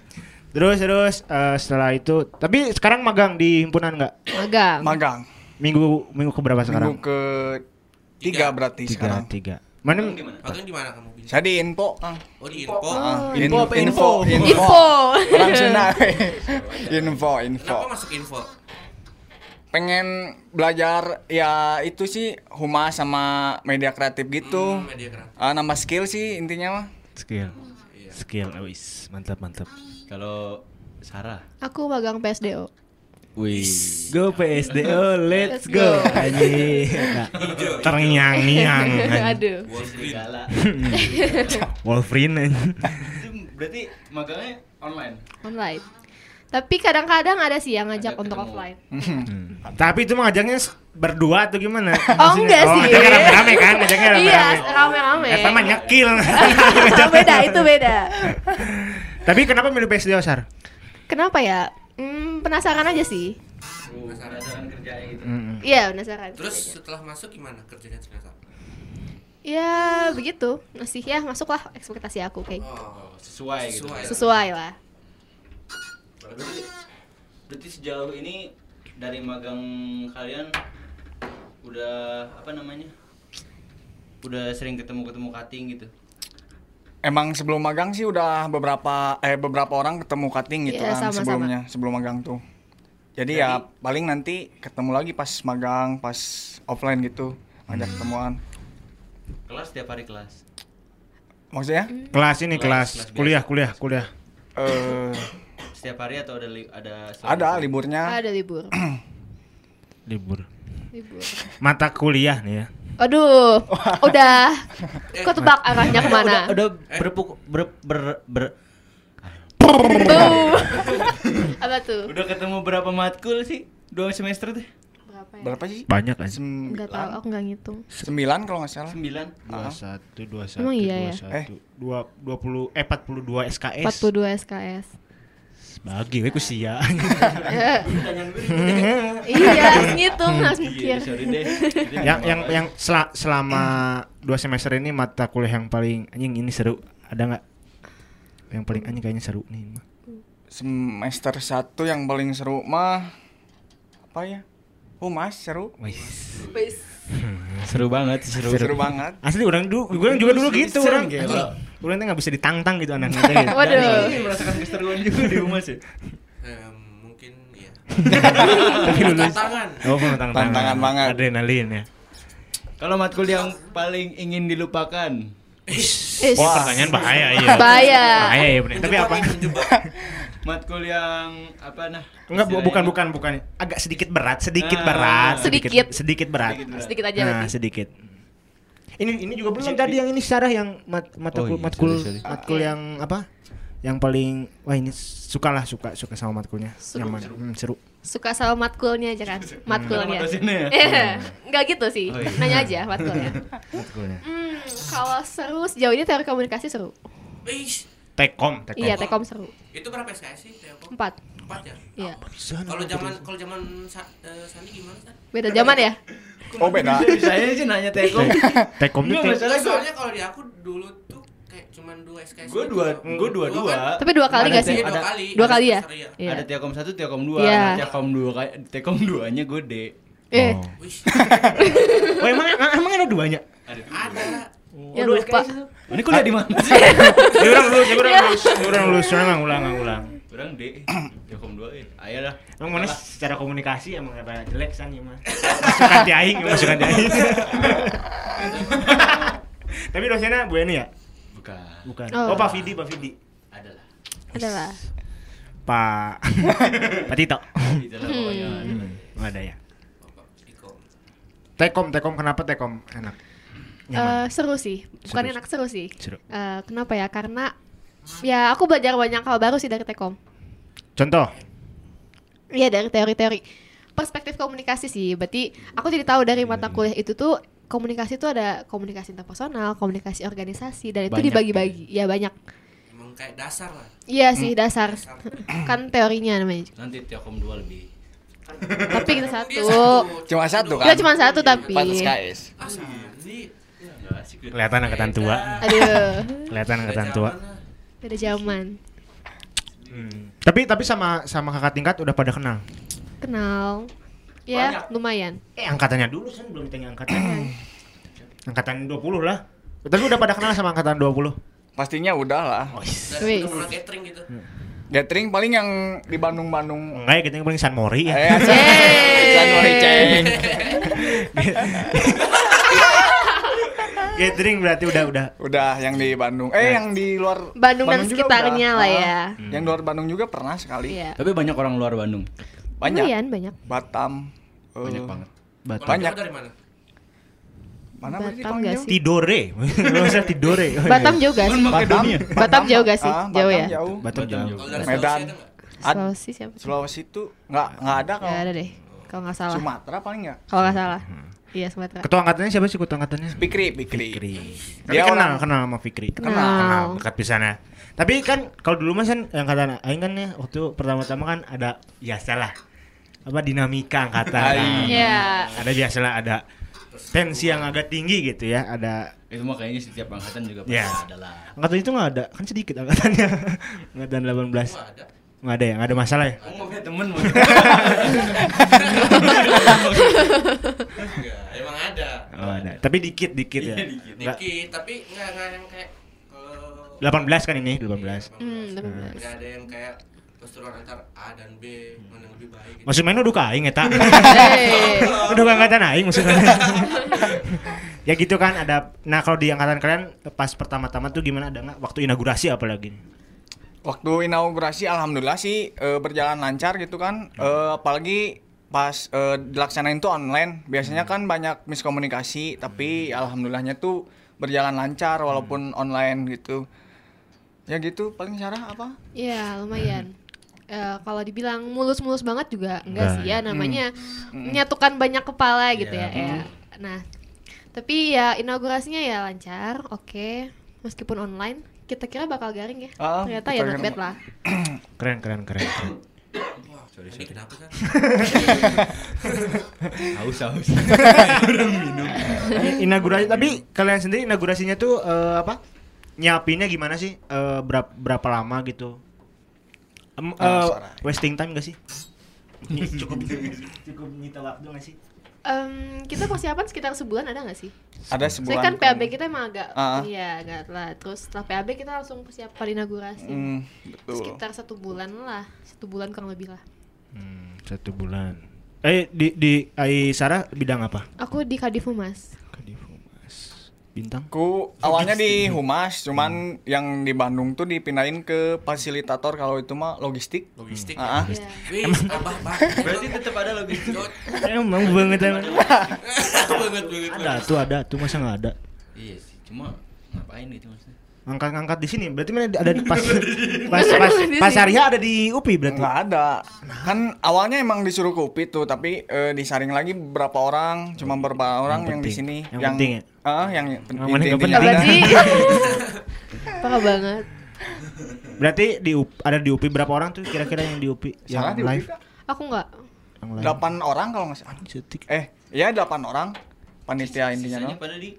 S1: Terus terus eh, setelah itu, tapi sekarang magang di himpunan nggak?
S5: Magang.
S2: Magang.
S1: Minggu minggu keberapa sekarang?
S2: Minggu ke tiga berarti
S1: tiga
S2: sekarang.
S1: tiga. Mana?
S4: Magang di mana kamu bisa?
S2: Saya di info, Kang.
S4: Oh di info.
S2: Ah,
S3: Info apa info?
S5: Info.
S2: Orang Sunda. weh. info, info.
S4: Kenapa masuk info?
S2: Pengen belajar ya itu sih humas sama media kreatif gitu.
S5: Oh.
S4: Hmm, media kreatif.
S2: Ah, nambah skill sih
S1: (laughs)
S2: intinya mah.
S1: Skill. Skill, wis mantap mantap.
S3: Kalau Sarah,
S5: Aku magang PSDO.
S3: wih.
S1: Go PSDO, oh, let's go.
S5: go.
S1: Anjing. Terngiang-ngiang. anjing.
S5: (laughs) Aduh.
S4: Wall Street.
S3: Serigala.
S1: Wolverine. anjing.
S3: Itu berarti magangnya online.
S5: online. Tapi kadang-kadang ada sih yang ngajak
S3: Ada
S5: untuk
S3: ketemu.
S5: offline.
S1: Tapi itu mengajaknya berdua atau gimana?
S5: Hmm. Oh enggak sih.
S1: ngajaknya rame-rame kan, ngajaknya
S5: (laughs) Iya,
S1: rame-rame.
S5: rame-rame.
S1: Eh, sama nyekil.
S5: beda, (laughs) itu
S1: (laughs)
S5: beda.
S1: Tapi kenapa milih PSDO, Sar?
S5: Kenapa ya? Hmm, penasaran aja sih. Oh.
S3: Penasaran kerjanya gitu.
S1: Hmm.
S5: Iya, penasaran.
S4: Terus setelah masuk gimana kerjanya ternyata?
S5: Oh. Ya, begitu. Masih ya masuklah ekspektasi aku kayak gitu.
S4: Oh,
S3: Sesuai gitu.
S4: Sesuai.
S5: Sesuai lah.
S3: Berarti, berarti sejauh ini dari magang kalian udah apa namanya? Udah sering ketemu-ketemu cutting gitu.
S2: Emang sebelum magang sih udah beberapa eh beberapa orang ketemu cutting gitu
S5: Iya,
S2: kan
S5: sama-sama.
S2: sebelumnya, sebelum magang tuh. Jadi, ya paling nanti ketemu lagi pas magang, pas offline gitu, ngajak ketemuan.
S3: Kelas tiap hari kelas.
S2: Maksudnya?
S1: Kelas ini kelas,
S3: Kelas, kelas biasa.
S1: kuliah, kuliah, kuliah.
S2: Eh,
S3: Setiap hari atau ada li- ada selama-
S2: ada
S3: Ya.
S2: liburnya.
S5: Ah, Ada
S3: (clears throat)
S5: libur.
S1: Libur.
S5: libur.
S1: Mata kuliah nih ya.
S5: Aduh, udah. Kok tebak arahnya kemana?
S3: Eh, Udah, udah berpuk ber, ber, ber-
S5: Tuh. Apa tuh?
S3: udah ketemu berapa matkul sih? Dua semester tuh?
S5: Berapa ya?
S2: Berapa sih?
S1: Banyak kan?
S5: Enggak tahu,
S2: Sembilan.
S5: aku enggak ngitung.
S2: Sembilan kalau nggak salah.
S3: Sembilan.
S1: dua satu dua satu
S5: Emang iya ya?
S2: Eh.
S1: dua dua puluh eh empat puluh dua SKS
S5: 42
S3: (laughs)
S5: SKS.
S1: bagi we kusia
S5: (laughs)
S1: (laughs)
S5: iya, harus ngitung, harus mikir.
S3: Iya, sorry deh. Jadi
S1: yang
S3: nggak
S1: yang
S3: apa-apa.
S1: yang sel- selama dua semester ini mata kuliah yang paling anjing ini seru ada nggak yang paling anjing kayaknya seru nih mah.
S2: Semester satu yang paling seru mah apa ya? Humas seru.
S1: Wih,
S3: seru banget, seru.
S2: Seru banget.
S1: asli orang dulu orang juga dulu gitu orang anjing,
S3: Serem, gila.
S1: orang tuh nggak bisa ditantang gitu anaknya tuh gitu.
S5: Waduh.
S3: Ini merasakan keseruan juga di rumah sih.
S4: Em, mungkin ya.
S1: (laughs) tapi lulus
S4: Tantangan.
S1: oh tantangan
S2: Tantangan banget.
S1: adrenalin ya
S3: Kalau matkul yang paling ingin dilupakan.
S5: Ish,
S1: pertanyaan bahaya iya
S5: (laughs) bahaya.
S1: bahaya ya bener tapi apa
S3: Matkul yang apa nah?
S1: Enggak, bu-
S3: istilahnya?
S1: bukan, bukan, bukan. Agak sedikit berat, sedikit
S3: Ah.
S1: berat,
S5: Sedikit.
S1: sedikit berat.
S3: Sedikit berat.
S5: Sedikit aja
S1: Nah,
S5: berarti.
S1: sedikit. Ini ini juga belum tadi yang ini Sarah yang mat, matkul
S3: Oh iya,
S1: matkul
S5: Iya.
S3: sorry, sorry.
S1: matkul yang apa? yang paling wah ini suka lah suka suka sama matkulnya
S5: Seru,
S1: nyaman Hmm, seru
S5: Suka sama matkulnya aja kan?
S3: Sama
S5: Matkulnya.
S3: dosennya ya?
S5: Eh, Nggak gitu sih.
S3: Oh, iya.
S5: Nanya aja matkulnya.
S3: (laughs)
S1: matkulnya
S5: Hmm, kalau seru sejauh ini teori komunikasi seru.
S4: Eish,
S1: tekom tekom
S5: Iya, Tekom seru.
S4: itu berapa SKS sih? Telkom?
S5: Empat.
S4: Empat ya.
S5: Iya.
S1: Bisa,
S4: Kalau
S1: kenapa
S4: zaman
S1: gitu?
S4: kalau zaman Sa- eh, Sandi gimana kan?
S5: Beda zaman ya?
S2: Oh beda.
S3: Nah, Saya sih nanya Telkom.
S5: (laughs)
S1: tekom tuh te-
S3: Enggak, Mas. Soalnya gua-
S4: Soalnya kalau di aku dulu tuh kayak cuman dua SKS.
S3: Gue dua, gue dua dua.
S4: gitu kan?
S5: Tapi dua kali
S3: Ada
S5: nggak
S3: Te-
S5: sih?
S4: Iya, dua
S3: Ada,
S4: kali.
S5: Dua kali ya? (laughs)
S4: Iya.
S5: Iya.
S3: ada Telkom satu, Telkom dua.
S5: Iya.
S3: Nah, Telkom dua, kayak- Telkom duanya gue D.
S5: Eh,
S1: Oh.
S4: Wih,
S1: oh emang emang ada duanya
S3: Ada.
S4: ada.
S5: ya lupa.
S3: Ini kuliah di mana
S5: (laughs)
S3: sih?
S1: ya udah lulus ya
S5: Iya.
S1: udah lulus ya udah lulus ulang ulang ulang
S3: Kurang (clears throat) D. Telkom dua ya. Ayo lah.
S1: Emang mana secara komunikasi emang apa jelek san ya mas? Masukan di aing, masukan di (laughs) aing. Tapi dosennya Bu Eni ya?
S3: Bukan.
S1: Bukan.
S5: Oh.
S1: Oh, Pak Vidi, Pak Vidi.
S3: Ada lah.
S5: Adalah.
S1: Pak (laughs) Pak Tito.
S3: Itu lah pokoknya. ada lah.
S1: Oh, ada ya.
S4: Bapak Iko.
S1: Tekom, Tekom kenapa Tekom enak?
S5: Eh,
S1: Nyaman.
S5: seru sih. Bukan
S1: Seru.
S5: enak seru sih.
S1: Seru.
S5: Eh, kenapa ya? Karena ya aku belajar banyak hal baru sih dari Tekom.
S1: Contoh.
S5: Iya dari teori-teori perspektif komunikasi sih. Berarti aku jadi tahu dari mata
S1: Hmm.
S5: kuliah itu tuh komunikasi itu ada komunikasi interpersonal, komunikasi organisasi dan itu
S1: Banyak.
S5: dibagi-bagi. Ya banyak.
S4: Emang kayak dasar lah.
S1: Hmm.
S5: Iya sih dasar.
S4: Dasar.
S5: kan teorinya namanya. juga.
S3: Nanti Telkom dua lebih.
S5: Tapi kita
S4: Dia
S5: satu.
S2: Cuma satu kan?
S5: Kita cuma satu tapi.
S2: Empat SKS.
S4: Ah, Sandi.
S3: Nggak asik. deh.
S1: Kelihatan angkatan tua.
S5: Eh. Aduh,
S1: Kelihatan
S4: Udah
S1: angkatan tua.
S4: zaman lah.
S5: beda zaman.
S1: Hmm. Tapi tapi sama sama kakak tingkat udah pada kenal.
S5: Kenal. Ya,
S4: Banyak.
S5: lumayan.
S1: Eh, angkatannya dulu san belum tanya
S2: (clears throat)
S1: angkatannya. angkatan 20 lah. Tapi udah pada kenal sama angkatan 20.
S2: Pastinya udah lah.
S4: Udah-
S5: Wih.
S4: udah pernah catering gitu.
S2: Hmm. Gathering paling yang di Bandung-Bandung.
S1: Enggak ya, kita yang paling San Mori ya.
S2: Eh,
S1: (laughs)
S2: Januari ceng.
S1: Gathering berarti udah udah.
S2: Udah yang di Bandung. Eh yang di luar
S5: Bandung dan
S2: juga
S5: sekitarnya
S2: udah.
S5: lah
S2: Ah,
S5: ya.
S2: Yang luar Bandung juga pernah sekali.
S5: Iya.
S3: Tapi banyak orang luar Bandung.
S2: Banyak.
S5: Lumayan banyak.
S2: Batam. eh,
S3: Banyak banget.
S4: Kalau
S2: Banyak.
S4: jauh dari mana?
S2: Mana berarti
S5: Batam
S2: dipanggil?
S5: gak sih?
S1: Tidore. Enggak usah tidore. Oh,
S2: Oh,
S1: iya.
S2: iya.
S5: Batam jauh gak sih?
S2: Batam. iya.
S5: Batam jauh gak sih?
S2: Ah,
S5: Jauh
S2: Batam
S5: ya?
S2: Jauh.
S1: Batam
S3: Batam
S1: jauh.
S4: Kalau dari
S2: Medan.
S4: Sulawesi ada nggak?
S2: Ad-
S5: Sulawesi siapa? sih?
S2: Sulawesi itu nggak nggak ada
S5: Gak
S2: kalau
S5: ada deh. Kalau nggak salah.
S2: Sumatera paling ya. nggak.
S5: Kalau nggak salah.
S2: Hmm.
S5: Iya Sumatera.
S1: Ketua angkatannya siapa sih ketua angkatannya?
S2: Pikri, Pikri.
S1: Fikri. Tapi
S2: Dia
S1: kenal
S2: orang-
S1: kenal sama Fikri.
S5: Kenal.
S1: Kenal dekat pisannya. Tapi kan kalau dulu mas kan yang kata aing kan ya waktu pertama-tama kan ada biasalah apa dinamika angkatan.
S5: Iya.
S1: Ada biasalah ada tensi yang agak tinggi gitu ya. Ada
S3: Itu mah kayaknya setiap angkatan juga pasti
S1: Ya.
S3: ada lah.
S1: angkatan itu nggak ada kan sedikit angkatannya (laughs) angkatan 18
S4: Nggak ada.
S1: nggak ada ya nggak ada masalah ya
S3: Kamu mau punya temen mau.
S4: Nggak, emang ada.
S1: Oh, ada. Tapi dikit dikit ya.
S3: Iya, dikit.
S1: Nggak-
S4: Dikit, tapi nggak nggak yang kayak kalau Iya,
S1: 18 kan
S3: Iya,
S1: ini 18.
S5: Hmm, tapi
S4: Nggak ada yang kayak perseteruan antar A dan B
S2: Hmm.
S4: mana yang lebih baik. Gitu.
S1: Maksud main udah kaing
S3: (laughs)
S1: eta.
S5: Eh,
S1: udah angkatan aing maksudnya. (laughs) ya gitu kan ada nah kalau di angkatan kalian pas pertama-tama tuh gimana ada nggak waktu inaugurasi apalagi nih?
S2: Waktu inaugurasi alhamdulillah sih eh, berjalan lancar gitu kan. Eh, apalagi pas eh, dilaksanain tuh online. Biasanya kan banyak miskomunikasi, tapi alhamdulillahnya tuh berjalan lancar walaupun online gitu. Ya gitu paling Sarah apa?
S5: Iya lumayan. Eh, kalau dibilang mulus-mulus banget juga
S2: Nah,
S5: enggak sih
S2: hmm.
S5: ya namanya menyatukan banyak kepala gitu
S2: Iya.
S5: ya. ya.
S2: Hmm.
S5: Nah, tapi ya inaugurasinya ya lancar, oke. Meskipun online, kita kira bakal garing ya.
S2: Ah,
S5: Ternyata
S2: kita
S5: ya not
S2: kira-
S5: bad lah.
S1: Keren keren keren. keren.
S4: Wah, ini kenapa
S2: Hmm.
S4: kan?
S3: (laughs) Haus haus.
S1: inaugurasi tapi kalian sendiri inaugurasinya tuh eh, apa? Nyiapinnya gimana sih? Eh, berap- berapa lama gitu? Em, eh,
S2: Oh, Sarah.
S1: wasting time gak sih? Iya, cukup cukup nyita waktu gak sih?
S5: Em, kita persiapan sekitar sebulan ada nggak sih?
S2: Ada
S5: Saya
S2: sebulan.
S5: kan PAB kita emang agak
S2: Ah.
S5: iya agak lah. Terus setelah PAB kita langsung persiapan inaugurasi.
S2: Hmm, betul.
S5: Sekitar satu bulan lah, satu bulan kurang lebih lah.
S1: Hmm, satu bulan. Eh di di Ai Sarah bidang apa?
S5: Aku di Kadif Humas.
S1: Bintang.
S2: Aku awalnya di Humas, cuman yang di Bandung tuh dipindahin ke fasilitator kalau itu mah logistik.
S4: Logistik.
S2: Ah, ah.
S5: Iya.
S4: Wih,
S2: (laughs)
S4: abah banget.
S3: Berarti tetap ada logistik.
S1: (laughs) Emang banget emang.
S4: (laughs) banget banget.
S1: Ada tuh ada tuh masa nggak ada.
S3: Iya sih, cuma ngapain gitu maksudnya
S1: Angkat-angkat di sini. Berarti mana ada di pas (laughs) pas pas,
S5: Di
S1: pas
S5: sini.
S1: Arya ada di UPI berarti.
S2: Nggak ada. Kan awalnya emang disuruh ke UPI tuh, tapi eh, disaring lagi berapa orang, cuma beberapa orang yang, di
S1: penting.
S2: sini
S1: Yang penting ya?
S2: Ah, yang
S1: Yang penting,
S2: inti-
S1: nggak
S5: Nggak
S1: penting.
S2: intinya
S5: Iya, berarti (laughs) parah banget
S1: Berarti di UP- ada di UPI berapa orang tuh kira-kira yang di UPI yang
S2: Salah di UPI
S1: live?
S2: Kak.
S5: aku nggak
S1: Yang live.
S2: Delapan orang kalau nggak salah.
S1: Cetik.
S2: Eh, ya delapan orang panitia intinya doang.
S3: sisanya pada di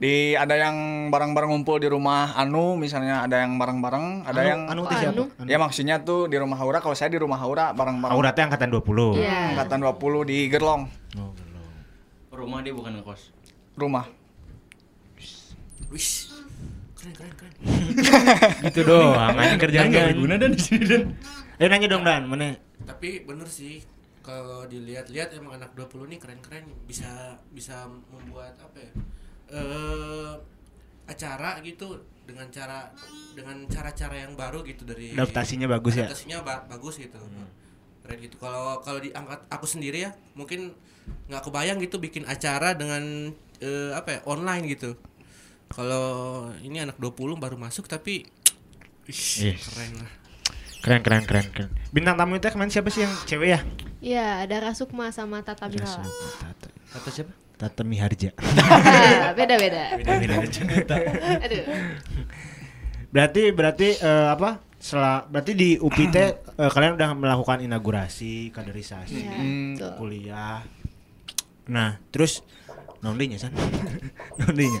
S2: Di ada yang bareng-bareng ngumpul di rumah Anu misalnya, ada yang bareng-bareng, ada
S1: Anu-
S2: yang
S1: Anu
S5: Oh,
S1: itu siapa?
S5: Anu.
S1: Anu.
S2: Ya maksudnya tuh di rumah Haura kalau saya di rumah Haura bareng-bareng
S1: Auratnya angkatan Oh, 20.
S5: Iya.
S2: angkatan 20 di Gerlong
S3: rumah dia bukan ngekos
S2: rumah.
S4: Wis. Keren keren keren.
S1: Gitu doang. Ini kerjanya.
S3: dan di sini dan
S1: Eh nanya dong Dan, mana?
S4: Tapi bener sih kalau dilihat-lihat emang anak 20 ini keren-keren bisa bisa membuat apa ya? Eh acara gitu dengan cara dengan cara-cara yang baru gitu dari
S1: Adaptasinya bagus ya.
S4: adaptasinya ba- bagus gitu keren gitu kalau kalau diangkat aku sendiri ya mungkin nggak kebayang gitu bikin acara dengan eh, apa ya online gitu kalau ini anak 20 baru masuk tapi Ih,
S1: Yes.
S4: keren lah
S1: Keren keren keren keren. Bintang tamu itu kemarin siapa sih yang cewek ya?
S5: Iya, ada Rasukma sama Tata Mila.
S1: Tata,
S3: kata siapa
S1: Tata (laughs) Miharja.
S5: Iya, Beda-beda. Aduh.
S1: Berarti berarti eh, apa? Setelah berarti di (clears throat) UPT eh, kalian udah melakukan inaugurasi, kaderisasi,
S5: Iya, betul.
S1: kuliah. Nah, terus nondinya san. (laughs) nondinya.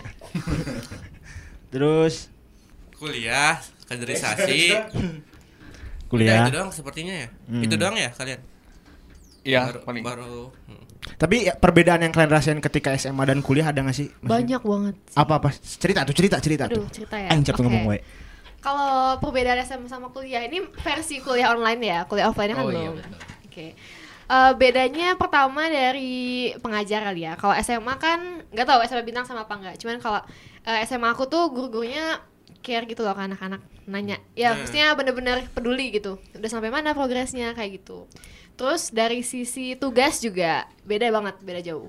S1: terus
S4: kuliah kaderisasi Udah, itu
S1: kuliah.
S4: doang sepertinya ya
S1: Hmm.
S4: itu doang ya kalian
S2: Iya,
S4: baru,
S2: paling.
S4: baru hmm.
S1: Tapi ya, perbedaan yang kalian rasain ketika SMA dan kuliah ada gak sih? Maksudnya,
S5: Banyak banget.
S1: Apa apa? Cerita tuh, cerita, cerita
S5: Aduh,
S1: tuh.
S5: cerita ya.
S1: Aing capek
S5: Oke.
S1: ngomong we.
S5: Kalau perbedaan SMA sama kuliah ini versi kuliah online ya, kuliah offline
S3: Oh,
S5: kan
S3: iya,
S5: belum.
S3: betul.
S5: Oke. Eh, bedanya pertama dari pengajar kali ya. Kalau SMA kan nggak tahu SMA bintang sama apa nggak. Cuman kalau eh, SMA aku tuh guru-gurunya care gitu loh ke anak-anak nanya. Ya,
S3: Nah.
S4: Hmm.
S5: maksudnya bener-bener peduli gitu. Udah sampai mana progresnya kayak gitu. Terus dari sisi tugas juga beda banget, beda jauh.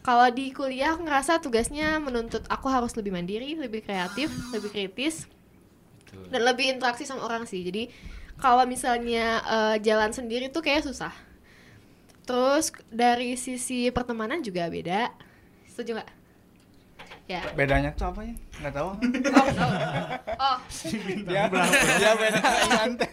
S5: Kalau di kuliah aku ngerasa tugasnya menuntut aku harus lebih mandiri, lebih kreatif, lebih kritis, dan lebih interaksi sama orang sih jadi kalau misalnya eh, jalan sendiri tuh kayak susah terus dari sisi pertemanan juga beda setuju nggak ya
S2: Bedanya tuh apa ya? Enggak tahu.
S5: oh, tahu. oh
S2: Ya, ya beda
S5: (laughs)
S2: santai.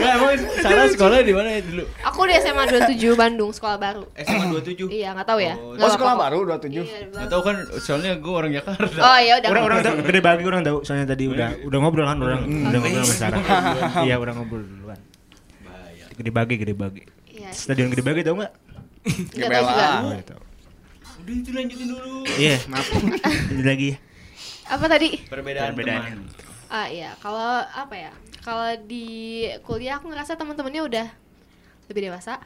S3: Nah, emang Sarah sekolah di mana ya dulu?
S5: aku di SMA 27 Bandung sekolah baru (clears throat)
S3: SMA 27
S5: iya nggak tahu ya
S3: Oh,
S5: Nggak
S2: Oh, sekolah
S5: apa-apa.
S2: baru 27.
S5: Iya,
S3: Gak
S5: belum.
S3: tau kan, soalnya gue orang Jakarta
S5: oh ya udah
S1: Orang orang tahu gede banget orang tahu soalnya tadi udah udah ngobrol kan orang
S4: Hmm.
S1: udah ngobrol sama
S4: (laughs)
S1: Sarah. Iya, udah ngobrol duluan.
S3: Bahaya
S1: Gede bagi, gede bagi.
S5: Iya.
S1: Stadion gede bagi tau nggak?
S5: nggak tahu juga
S2: GBLA.
S1: Oh, ya
S4: Iya.
S1: tahu.
S3: Udah itu lanjutin dulu
S1: Iya, maaf. Ini lagi.
S5: apa tadi
S3: Perbedaan,
S1: Perbedaan.
S3: teman
S5: ah iya kalau apa ya kalau di kuliah aku ngerasa teman-temannya udah lebih dewasa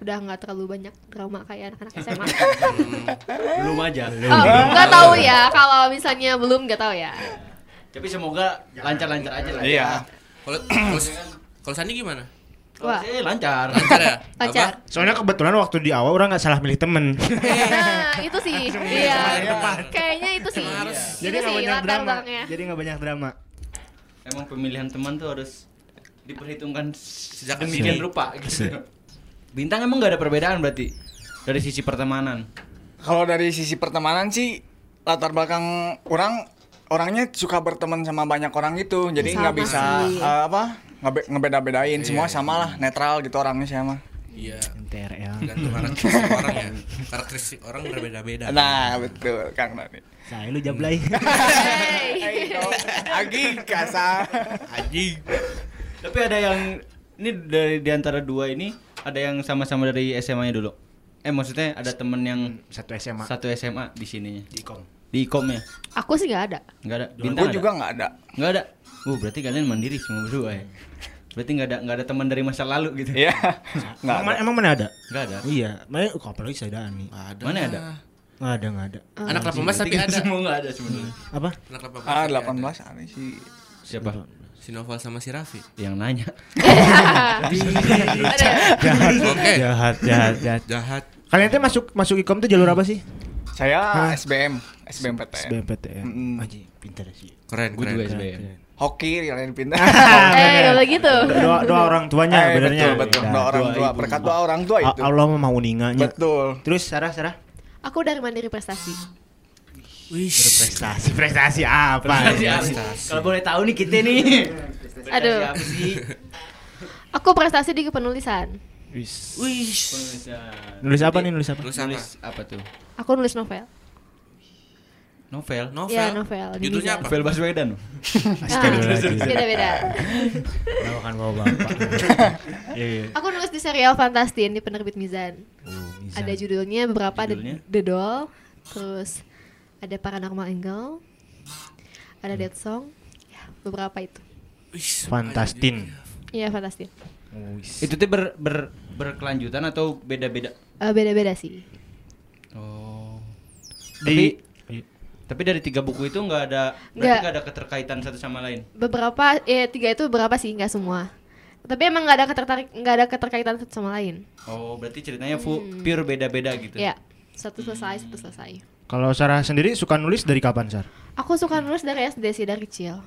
S5: udah nggak terlalu banyak drama kayak anak-anak SMA
S3: Belum aja
S5: Oh, nggak tahu ya kalau misalnya belum nggak tahu ya.
S3: Tapi semoga lancar-lancar aja lah ya.
S2: Iya.
S4: kalau kalau kalau Sandi gimana
S3: Kalau
S5: Wah.
S3: saya
S5: (laughs)
S3: lancar
S4: lancar ya
S5: (coughs) Lancar.
S4: Apa?
S1: Soalnya kebetulan waktu di awal orang nggak salah milih temen.
S5: Nah, itu sih. Iya.
S2: depan.
S5: Kayaknya itu sih.
S4: Emang harus.
S5: Itu
S1: nggak
S5: sih latar belakangnya.
S1: Jadi nggak banyak drama.
S3: Emang pemilihan teman tuh harus diperhitungkan
S4: Sejak
S3: sejak demikian
S4: dini.
S3: rupa gitu.
S1: Sejak.
S3: Bintang emang gak ada perbedaan berarti dari sisi pertemanan.
S2: Kalau dari sisi pertemanan sih latar belakang orang orangnya suka berteman sama banyak orang gitu. Jadi
S5: Sama
S2: nggak bisa
S5: sih.
S2: eh, apa? Nggak be- ngebeda-bedain semua samalah netral gitu orangnya sama.
S4: iya
S1: NTRL.
S4: tergantung karakteristik orang ya karakteristik orang berbeda-beda
S2: Nah, betul Kang Nani.
S1: Saya lu
S2: (laughs)
S1: jablay.
S5: Hey.
S2: Ayo, Agi kasar.
S4: anjing
S3: Tapi ada yang ini dari di antara dua ini ada yang sama-sama dari SMA-nya dulu. Eh maksudnya ada temen yang
S1: Satu SMA.
S3: satu SMA di sininya
S1: Ikom.
S3: di ikom ya?
S5: Aku sih nggak ada.
S3: Enggak ada. Bintang
S2: Gue
S3: ada?
S2: juga nggak ada.
S3: Nggak ada. Uh, berarti kalian mandiri semua berdua ya. Berarti nggak ada nggak ada teman dari masa lalu gitu.
S2: Iya. Nggak
S1: Emang,
S2: ada.
S1: emang mana ada?
S3: Nggak ada.
S1: Iya, mana kok apalagi saya Dani.
S4: ada
S3: Mana ada?
S1: Nggak ada, nggak ada.
S4: anak 18 tapi
S3: Kita
S4: ada
S3: Semua nggak ada sebenarnya.
S1: Apa?
S4: anak 18
S2: Ah,
S4: tapi
S2: 18
S4: ada.
S2: ada sih.
S3: Siapa?
S4: si Novel sama si Raffi
S3: Yang nanya.
S5: Ada.
S1: (laughs) Jahat,
S4: Oke.
S1: jahat, jahat, jahat.
S4: jahat
S1: Kalian tuh masuk masuk ikom tuh jalur apa sih?
S2: Saya
S1: Hah?
S2: SBM, SBMPTN.
S1: SBMPTN.
S2: Mm-mm.
S1: ya. Anjing, pintar
S2: (laughs)
S1: sih.
S4: Keren,
S3: Gue
S4: keren.
S3: juga
S4: keren.
S3: SBM.
S2: Hoki kalian pindah.
S1: Nah,
S5: eh gak boleh gitu
S1: Doa doa orang tuanya
S2: Eh,
S1: (laughs) benernya.
S2: betul, betul.
S1: Ya.
S2: Doa orang
S3: Doa
S2: tua,
S3: ibu.
S2: berkat doa orang tua
S1: A-
S2: itu.
S1: Allah mah mau ninganya.
S2: Betul.
S1: Terus Sarah Sarah
S5: aku dari mandiri prestasi
S4: Wih,
S1: prestasi prestasi apa?
S3: Prestasi apa? Kalau boleh tahu nih kita nih. Prestasi
S5: (laughs) Aduh.
S3: apa sih?
S5: aku prestasi di penulisan
S1: Wis.
S4: wih.
S1: Nulis apa nih nulis apa?
S4: Nulis apa?
S3: Nulis apa tuh?
S5: aku nulis novel
S3: Novel.
S4: Novel.
S5: Iya, novel, di
S4: Judulnya
S5: Mizan.
S4: apa?
S3: Novel Baswedan.
S5: Ah, beda beda
S1: Makan kan bawa (laughs) bapak. Iya, iya.
S5: aku nulis di serial Fantastin di penerbit Mizan
S1: Oh, bisa.
S5: ada judulnya beberapa ada
S3: Judulnya?
S5: The Doll terus ada Paranormal Angle ada Dead Song ya, beberapa itu
S4: Wih,
S1: Fantastin.
S5: iya Fantastin
S1: Oh, wis.
S3: Itu tuh ber, ber, berkelanjutan atau beda-beda?
S5: Eh, beda-beda sih
S3: Oh.
S1: di Iya.
S3: Tapi tapi dari tiga buku itu nggak ada berarti
S5: Nggak.
S3: nggak ada keterkaitan satu sama lain.
S5: beberapa eh tiga itu beberapa sih nggak semua tapi emang nggak ada ketertarik nggak ada keterkaitan satu sama lain
S3: Oh, berarti ceritanya full pure beda-beda gitu.
S5: ya satu selesai satu selesai
S1: kalau Sarah sendiri suka nulis dari kapan, Sar?
S5: aku suka nulis dari SD sih dari kecil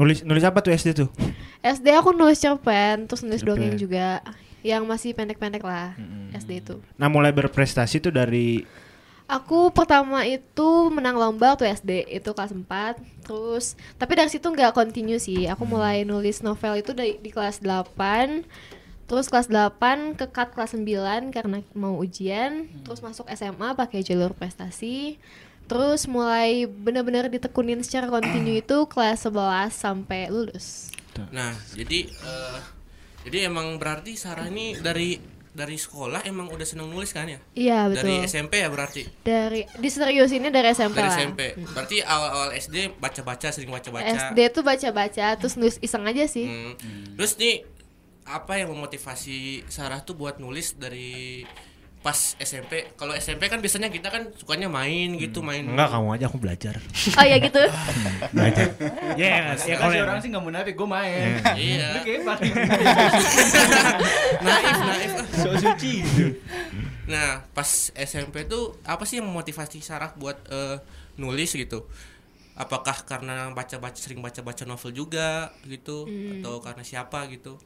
S1: Nulis nulis apa tuh SD tuh?
S5: SD aku nulis cerpen terus nulis
S1: Cerpen.
S5: dongeng juga yang masih pendek-pendek lah SD itu
S1: Nah, mulai berprestasi tuh dari
S5: Aku pertama itu menang lomba tuh SD itu kelas 4 Terus tapi dari situ nggak continue sih Aku mulai nulis novel itu dari, di kelas 8 Terus kelas 8 ke cut kelas 9 karena mau ujian Terus masuk SMA pakai jalur prestasi Terus mulai bener-bener ditekunin secara continue itu kelas 11 sampai lulus
S4: Nah, jadi eh, jadi emang berarti Sarah ini dari dari sekolah emang udah seneng nulis kan ya?
S5: Iya betul ya.
S4: Dari
S5: Dari,
S4: SMP ya berarti.
S5: diseriusinnya dari SMP
S4: Dari
S5: lah
S4: SMP. Berarti awal-awal SD baca-baca sering baca-baca.
S5: SD tuh baca-baca terus nulis iseng aja sih
S4: Hmm. Terus nih apa yang memotivasi Sarah tuh buat nulis dari pas SMP? Kalau SMP kan biasanya kita kan sukanya main gitu, main.
S1: enggak kamu aja aku belajar.
S5: Oh ya (laughs) gitu
S3: (laughs)
S1: Belajar. Yes, ya
S3: Ya kan
S1: kalau
S3: si orang sih nggak munafik, gue main.
S4: Iya.
S3: (laughs) Oke,
S4: Naif, naif.
S3: So suci.
S4: Nah, pas SMP tuh apa sih yang memotivasi Sarah buat eh, nulis gitu? Apakah karena baca-baca sering baca-baca novel juga gitu atau karena siapa gitu?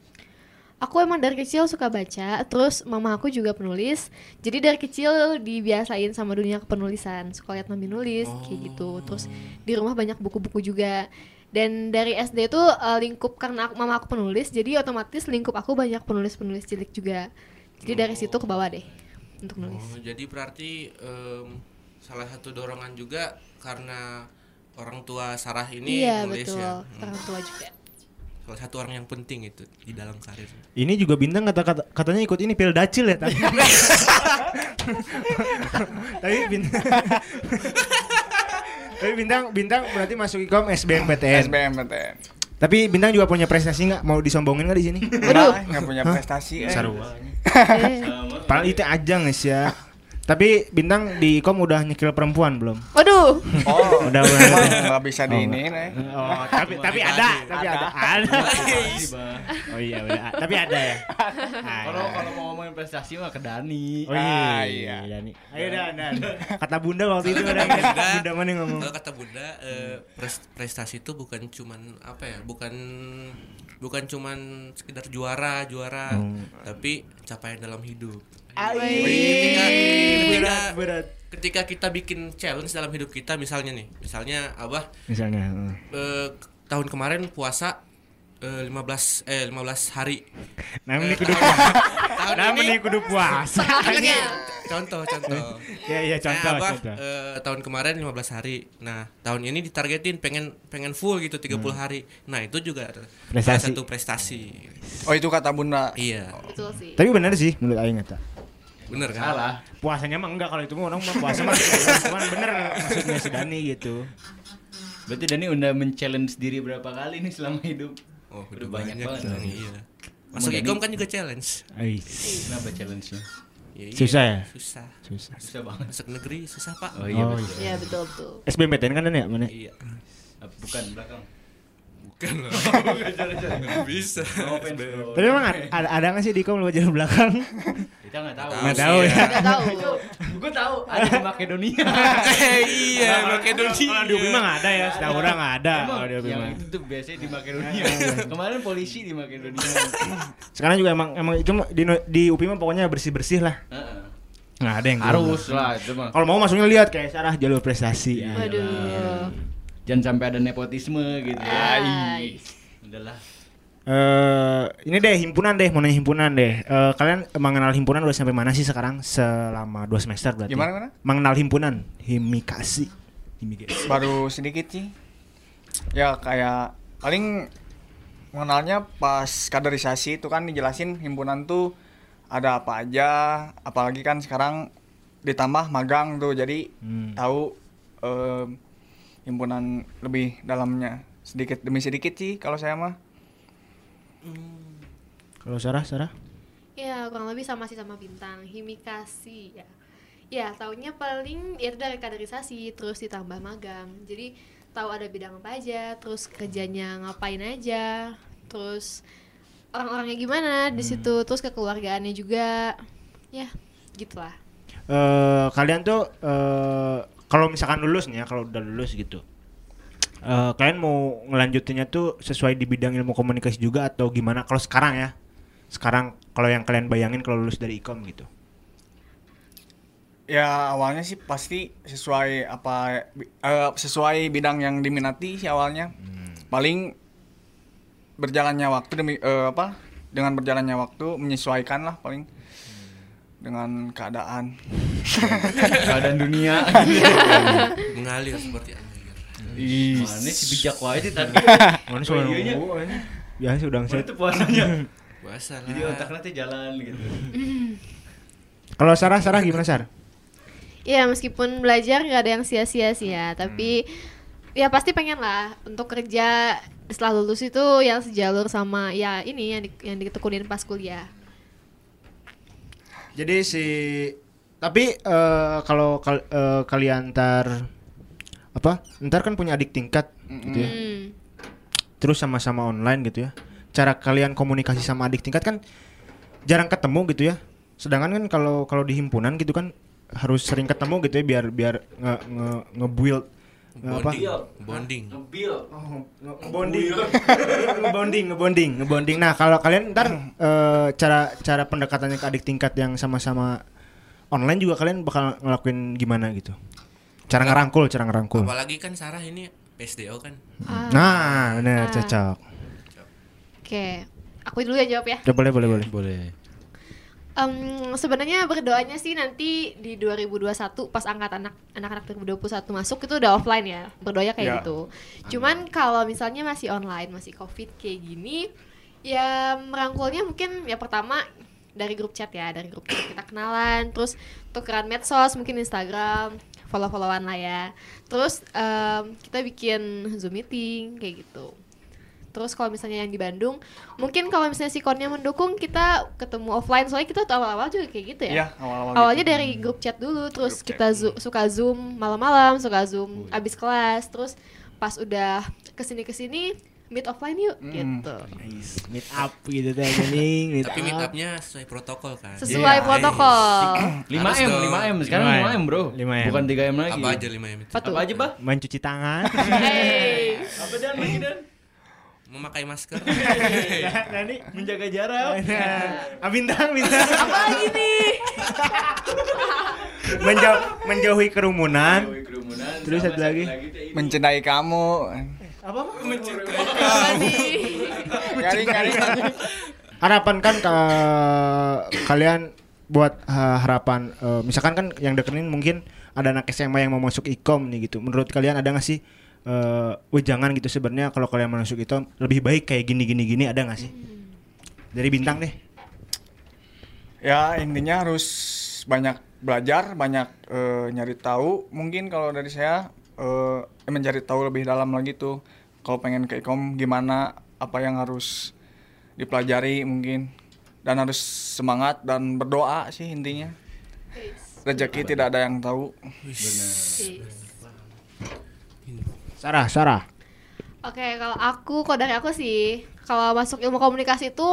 S5: Aku emang dari kecil suka baca, terus mama aku juga penulis. Jadi dari kecil dibiasain sama dunia kepenulisan, suka lihat mami nulis kayak
S4: Oh.
S5: gitu. Terus di rumah banyak buku-buku juga. Dan dari SD itu eh, lingkup karena aku, mama aku penulis, jadi otomatis lingkup aku banyak penulis-penulis cilik juga. Jadi dari situ ke bawah deh untuk nulis.
S4: Oh, jadi berarti em, salah satu dorongan juga karena orang tua Sarah ini
S5: iya
S4: nulis
S5: betul,
S4: ya. Hmm.
S5: orang tua
S4: (laughs)
S5: juga.
S4: Salah satu orang yang penting itu di dalam karir.
S1: Ini juga bintang kata, kata katanya ikut ini pil dacil ya
S3: (laughs)
S1: tapi. tapi bintang. (laughs) tapi bintang bintang berarti masuk ikom SBMPTN.
S2: SBMPTN.
S1: Tapi bintang juga punya prestasi nggak? Mau disombongin nggak di sini?
S5: Waduh.
S2: Nggak, nggak punya
S1: Hah?
S2: prestasi. eh.
S1: Sarua.
S5: Eh.
S1: Paling Iya. itu aja guys ya. Tapi bintang di ikom udah nyekil perempuan belum?
S5: Waduh,
S4: Um.
S2: Oh,
S1: Udah,
S2: udah
S1: udah.
S2: nggak bisa
S1: Oh,
S2: diinin eh.
S1: Oh, tapi tapi ada, tapi ada. Ada. (laughs) Oh iya, udah. Tapi ada ya.
S3: Kalau kalau mau ngomongin prestasi mah ke Dani.
S1: Oh iya,
S2: Ah,
S1: iya.
S2: iya.
S1: Dani. Ayo Dan, Dan. Kata Bunda waktu itu ada (laughs) Bunda, Bunda mana yang ngomong?
S4: Kalau kata Bunda, eh, pres- prestasi itu bukan cuman apa ya? Bukan bukan cuman sekedar juara, juara,
S1: Oh.
S4: tapi capaian dalam hidup. Ketika, ketika,
S1: Berat, berat.
S4: ketika kita bikin challenge dalam hidup kita misalnya nih, misalnya Abah
S1: Misalnya, heeh.
S4: eh, tahun kemarin puasa eh, 15 eh 15 hari.
S1: nah ini
S4: Eh,
S1: kudu
S4: tahun- tahun
S1: nah ini
S4: ini
S1: kudu puasa.
S4: Ini contoh contoh.
S1: Ya iya contoh,
S4: Nah, Abah,
S1: contoh.
S4: eh, tahun kemarin 15 hari. Nah, tahun ini ditargetin pengen pengen full gitu 30 hari. Nah, itu juga
S1: Hmm. Prestasi.
S4: salah satu prestasi.
S2: Oh itu kata bunda.
S4: Iya.
S5: betul sih.
S1: Tapi benar sih menurut aing eta.
S3: iya.
S4: Bener kan?
S3: Salah.
S1: Puasanya mah enggak kalau itu mah orang mah puasa (laughs) mah. Cuman bener maksudnya si Dani gitu.
S3: Berarti Dani udah men-challenge diri berapa kali nih selama hidup?
S4: Oh,
S3: Udah banyak banget
S4: dong,
S3: dong.
S4: Iya. Masuk
S3: Mudah
S4: ikom
S3: nih.
S4: kan juga challenge.
S1: Ais.
S3: Kenapa challenge-nya?
S4: Ya, iya.
S1: Susah ya?
S4: Susah.
S1: Susah.
S3: Susah banget.
S4: Masuk negeri susah, Pak.
S3: Oh iya.
S1: Oh,
S3: betul.
S5: Iya betul betul.
S1: SBMPTN kan Dan ya mana?
S4: Iya.
S3: Ah, Bukan belakang.
S4: Bukan
S3: (laughs)
S4: loh. Nggak bisa.
S3: No offense, bro.
S1: Tapi emang ad- ada, ada nggak sih Diko lu jalan belakang?
S3: (laughs) Kita nggak tahu.
S4: Nggak
S1: Nggak tahu
S4: sih,
S1: ya.
S4: ya.
S5: Gak tahu.
S3: Gue tahu ada di (laughs) Makedonia.
S4: Eh, (laughs) iya, Makedonia.
S1: Kalau di UPI mah nggak ada ya, sedang orang nggak ada.
S3: Emang Iya,
S1: Kalau di UPI
S3: yang
S1: mah.
S3: itu tuh biasanya di Makedonia. Kemarin polisi di (laughs) Makedonia.
S1: Sekarang juga emang emang itu mah di di UPI mah pokoknya bersih-bersih lah.
S3: Heeh.
S1: Nggak ada yang
S3: Harus lah itu mah.
S1: Kalau mau masuknya lihat kayak Sarah jalur prestasi.
S3: Iya.
S5: Waduh.
S3: Jangan sampai ada nepotisme gitu.
S5: Ay.
S3: Udahlah.
S1: Eh, ini deh himpunan deh, mau nanya himpunan deh. Eh, kalian mengenal himpunan udah sampai mana sih sekarang selama dua semester berarti?
S2: Gimana, gimana?
S1: Mengenal himpunan, himikasi. Himikasi.
S2: baru sedikit sih ya kayak paling mengenalnya pas kaderisasi itu kan dijelasin himpunan tuh ada apa aja apalagi kan sekarang ditambah magang tuh jadi
S1: Hmm.
S2: tahu eh, himpunan lebih dalamnya sedikit demi sedikit sih kalau saya mah
S1: Kalau Sarah, Sarah?
S5: Ya kurang lebih sama sih sama bintang himikasi ya. Ya taunya paling ya itu dari kaderisasi terus ditambah magang. Jadi tahu ada bidang apa aja, terus kerjanya ngapain aja, terus orang-orangnya gimana di situ, terus kekeluargaannya juga. Ya, gitulah.
S1: Eh, kalian tuh eh kalau misalkan lulus nih ya, kalau udah lulus gitu. Eh, kalian mau ngelanjutinnya tuh sesuai di bidang ilmu komunikasi juga atau gimana? Kalau sekarang ya. Sekarang kalau yang kalian bayangin kalau lulus dari Ikom gitu.
S2: ya awalnya sih pasti sesuai apa bi- eh, sesuai bidang yang diminati sih awalnya paling berjalannya waktu demi eh, apa dengan berjalannya waktu menyesuaikan lah paling dengan keadaan
S3: Keadaan dunia.
S4: Mengalir seperti air.
S3: Ih, mana si bijak wae sih tadi.
S1: Mana sih orang
S3: Iya, Oh, iya.
S1: Oh, ngomong, Ya, ini? Biasa udah
S3: Mana
S1: ngset.
S3: tuh puasanya?
S4: Puasa lah.
S3: Jadi otaknya tuh jalan gitu.
S1: Kalau Sarah, Sarah gimana Sarah?
S5: Ya meskipun belajar nggak ada yang sia-sia sih ya, tapi ya pasti pengen lah untuk kerja setelah lulus itu yang sejalur sama ya ini yang di, yang ditekunin pas kuliah.
S1: Jadi si tapi eh, kalau kal- eh, kalian ntar apa? Ntar kan punya adik tingkat gitu ya.
S5: Hmm.
S1: Terus sama-sama online gitu ya. Cara kalian komunikasi sama adik tingkat kan jarang ketemu gitu ya. Sedangkan kan kalau kalau di himpunan gitu kan harus sering ketemu gitu ya biar biar nge nge, nge build apa?
S4: Bonding. Bonding.
S3: Iya.
S1: ngebonding (laughs) ngebonding ngebonding ngebonding nah kalau kalian ntar eh, cara cara pendekatannya ke adik tingkat yang sama-sama online juga kalian bakal ngelakuin gimana gitu cara ngerangkul cara ngerangkul
S4: Apalagi kan Sarah ini PSDO kan.
S5: Ah,
S1: nah bener
S5: Ah.
S1: cocok
S5: Oke, aku dulu yang jawab ya.
S1: Udah, boleh boleh boleh
S6: Boleh.
S5: Em, sebenarnya berdoanya sih nanti di 2021 pas angkat anak anak-anak 2021 masuk itu udah offline ya. Berdoanya
S2: Ya.
S5: kayak gitu. Cuman kalau misalnya masih online, masih Covid kayak gini, ya merangkulnya mungkin ya pertama dari grup chat ya, dari grup chat kita kenalan, terus tukeran medsos, mungkin Instagram, follow-followan lah ya. Terus em, kita bikin Zoom meeting kayak gitu. Terus kalau misalnya yang di Bandung, mungkin kalau misalnya si Kornya mendukung kita ketemu offline soalnya kita tuh awal-awal juga kayak gitu ya.
S2: ya awal-awal
S5: Awalnya
S2: gitu.
S5: dari grup chat dulu, terus
S2: Grup chat. Oh, iya.
S5: kita zo- suka Zoom malam-malam, suka Zoom abis kelas, terus pas udah kesini kesini meet offline yuk
S2: Hmm.
S5: gitu.
S1: meet up gitu teh mending meet
S4: Tapi meet upnya sesuai protokol kan.
S5: Sesuai
S4: Iya.
S5: protokol.
S3: 5M,
S4: dong.
S3: 5M sekarang
S1: 5M.
S3: 5M, Bro.
S1: 5M.
S3: Bukan 3M lagi.
S4: Apa aja 5 itu?
S5: Apa tuh?
S3: Apa aja, Bah?
S1: mencuci tangan (laughs)
S2: Iya,
S5: Hey.
S3: Apa dan lagi dan?
S4: Memakai masker. Eh,
S1: nah ini
S3: Menjaga jarak.
S1: nah, ah, bintang bintang
S5: Apa lagi nih?
S1: (laughs) Menjau- menjauhi kerumunan
S3: Jauhi kerumunan.
S1: Terus
S3: sama
S1: satu lagi.
S3: teh ini.
S2: mencintai kamu
S5: Apa nih?
S2: garing garing
S1: harapan kan ka- kalian buat ha, harapan eh, misalkan kan yang deketin mungkin ada anak SMA yang mau masuk ikom nih gitu menurut kalian ada nggak sih eh "Wih, jangan gitu sebenarnya kalau kalian masuk ikom lebih baik kayak gini gini gini ada nggak sih dari bintang deh
S2: ya intinya harus banyak belajar banyak eh, nyari tahu mungkin kalau dari saya eh, mencari tahu lebih dalam lagi tuh kalau pengen ke ikom gimana apa yang harus dipelajari mungkin dan harus semangat dan berdoa sih intinya rezeki tidak ada yang tahu
S5: Ih.
S1: Sarah Sarah
S5: Oke, kalau aku kalau dari aku sih kalau masuk ilmu komunikasi itu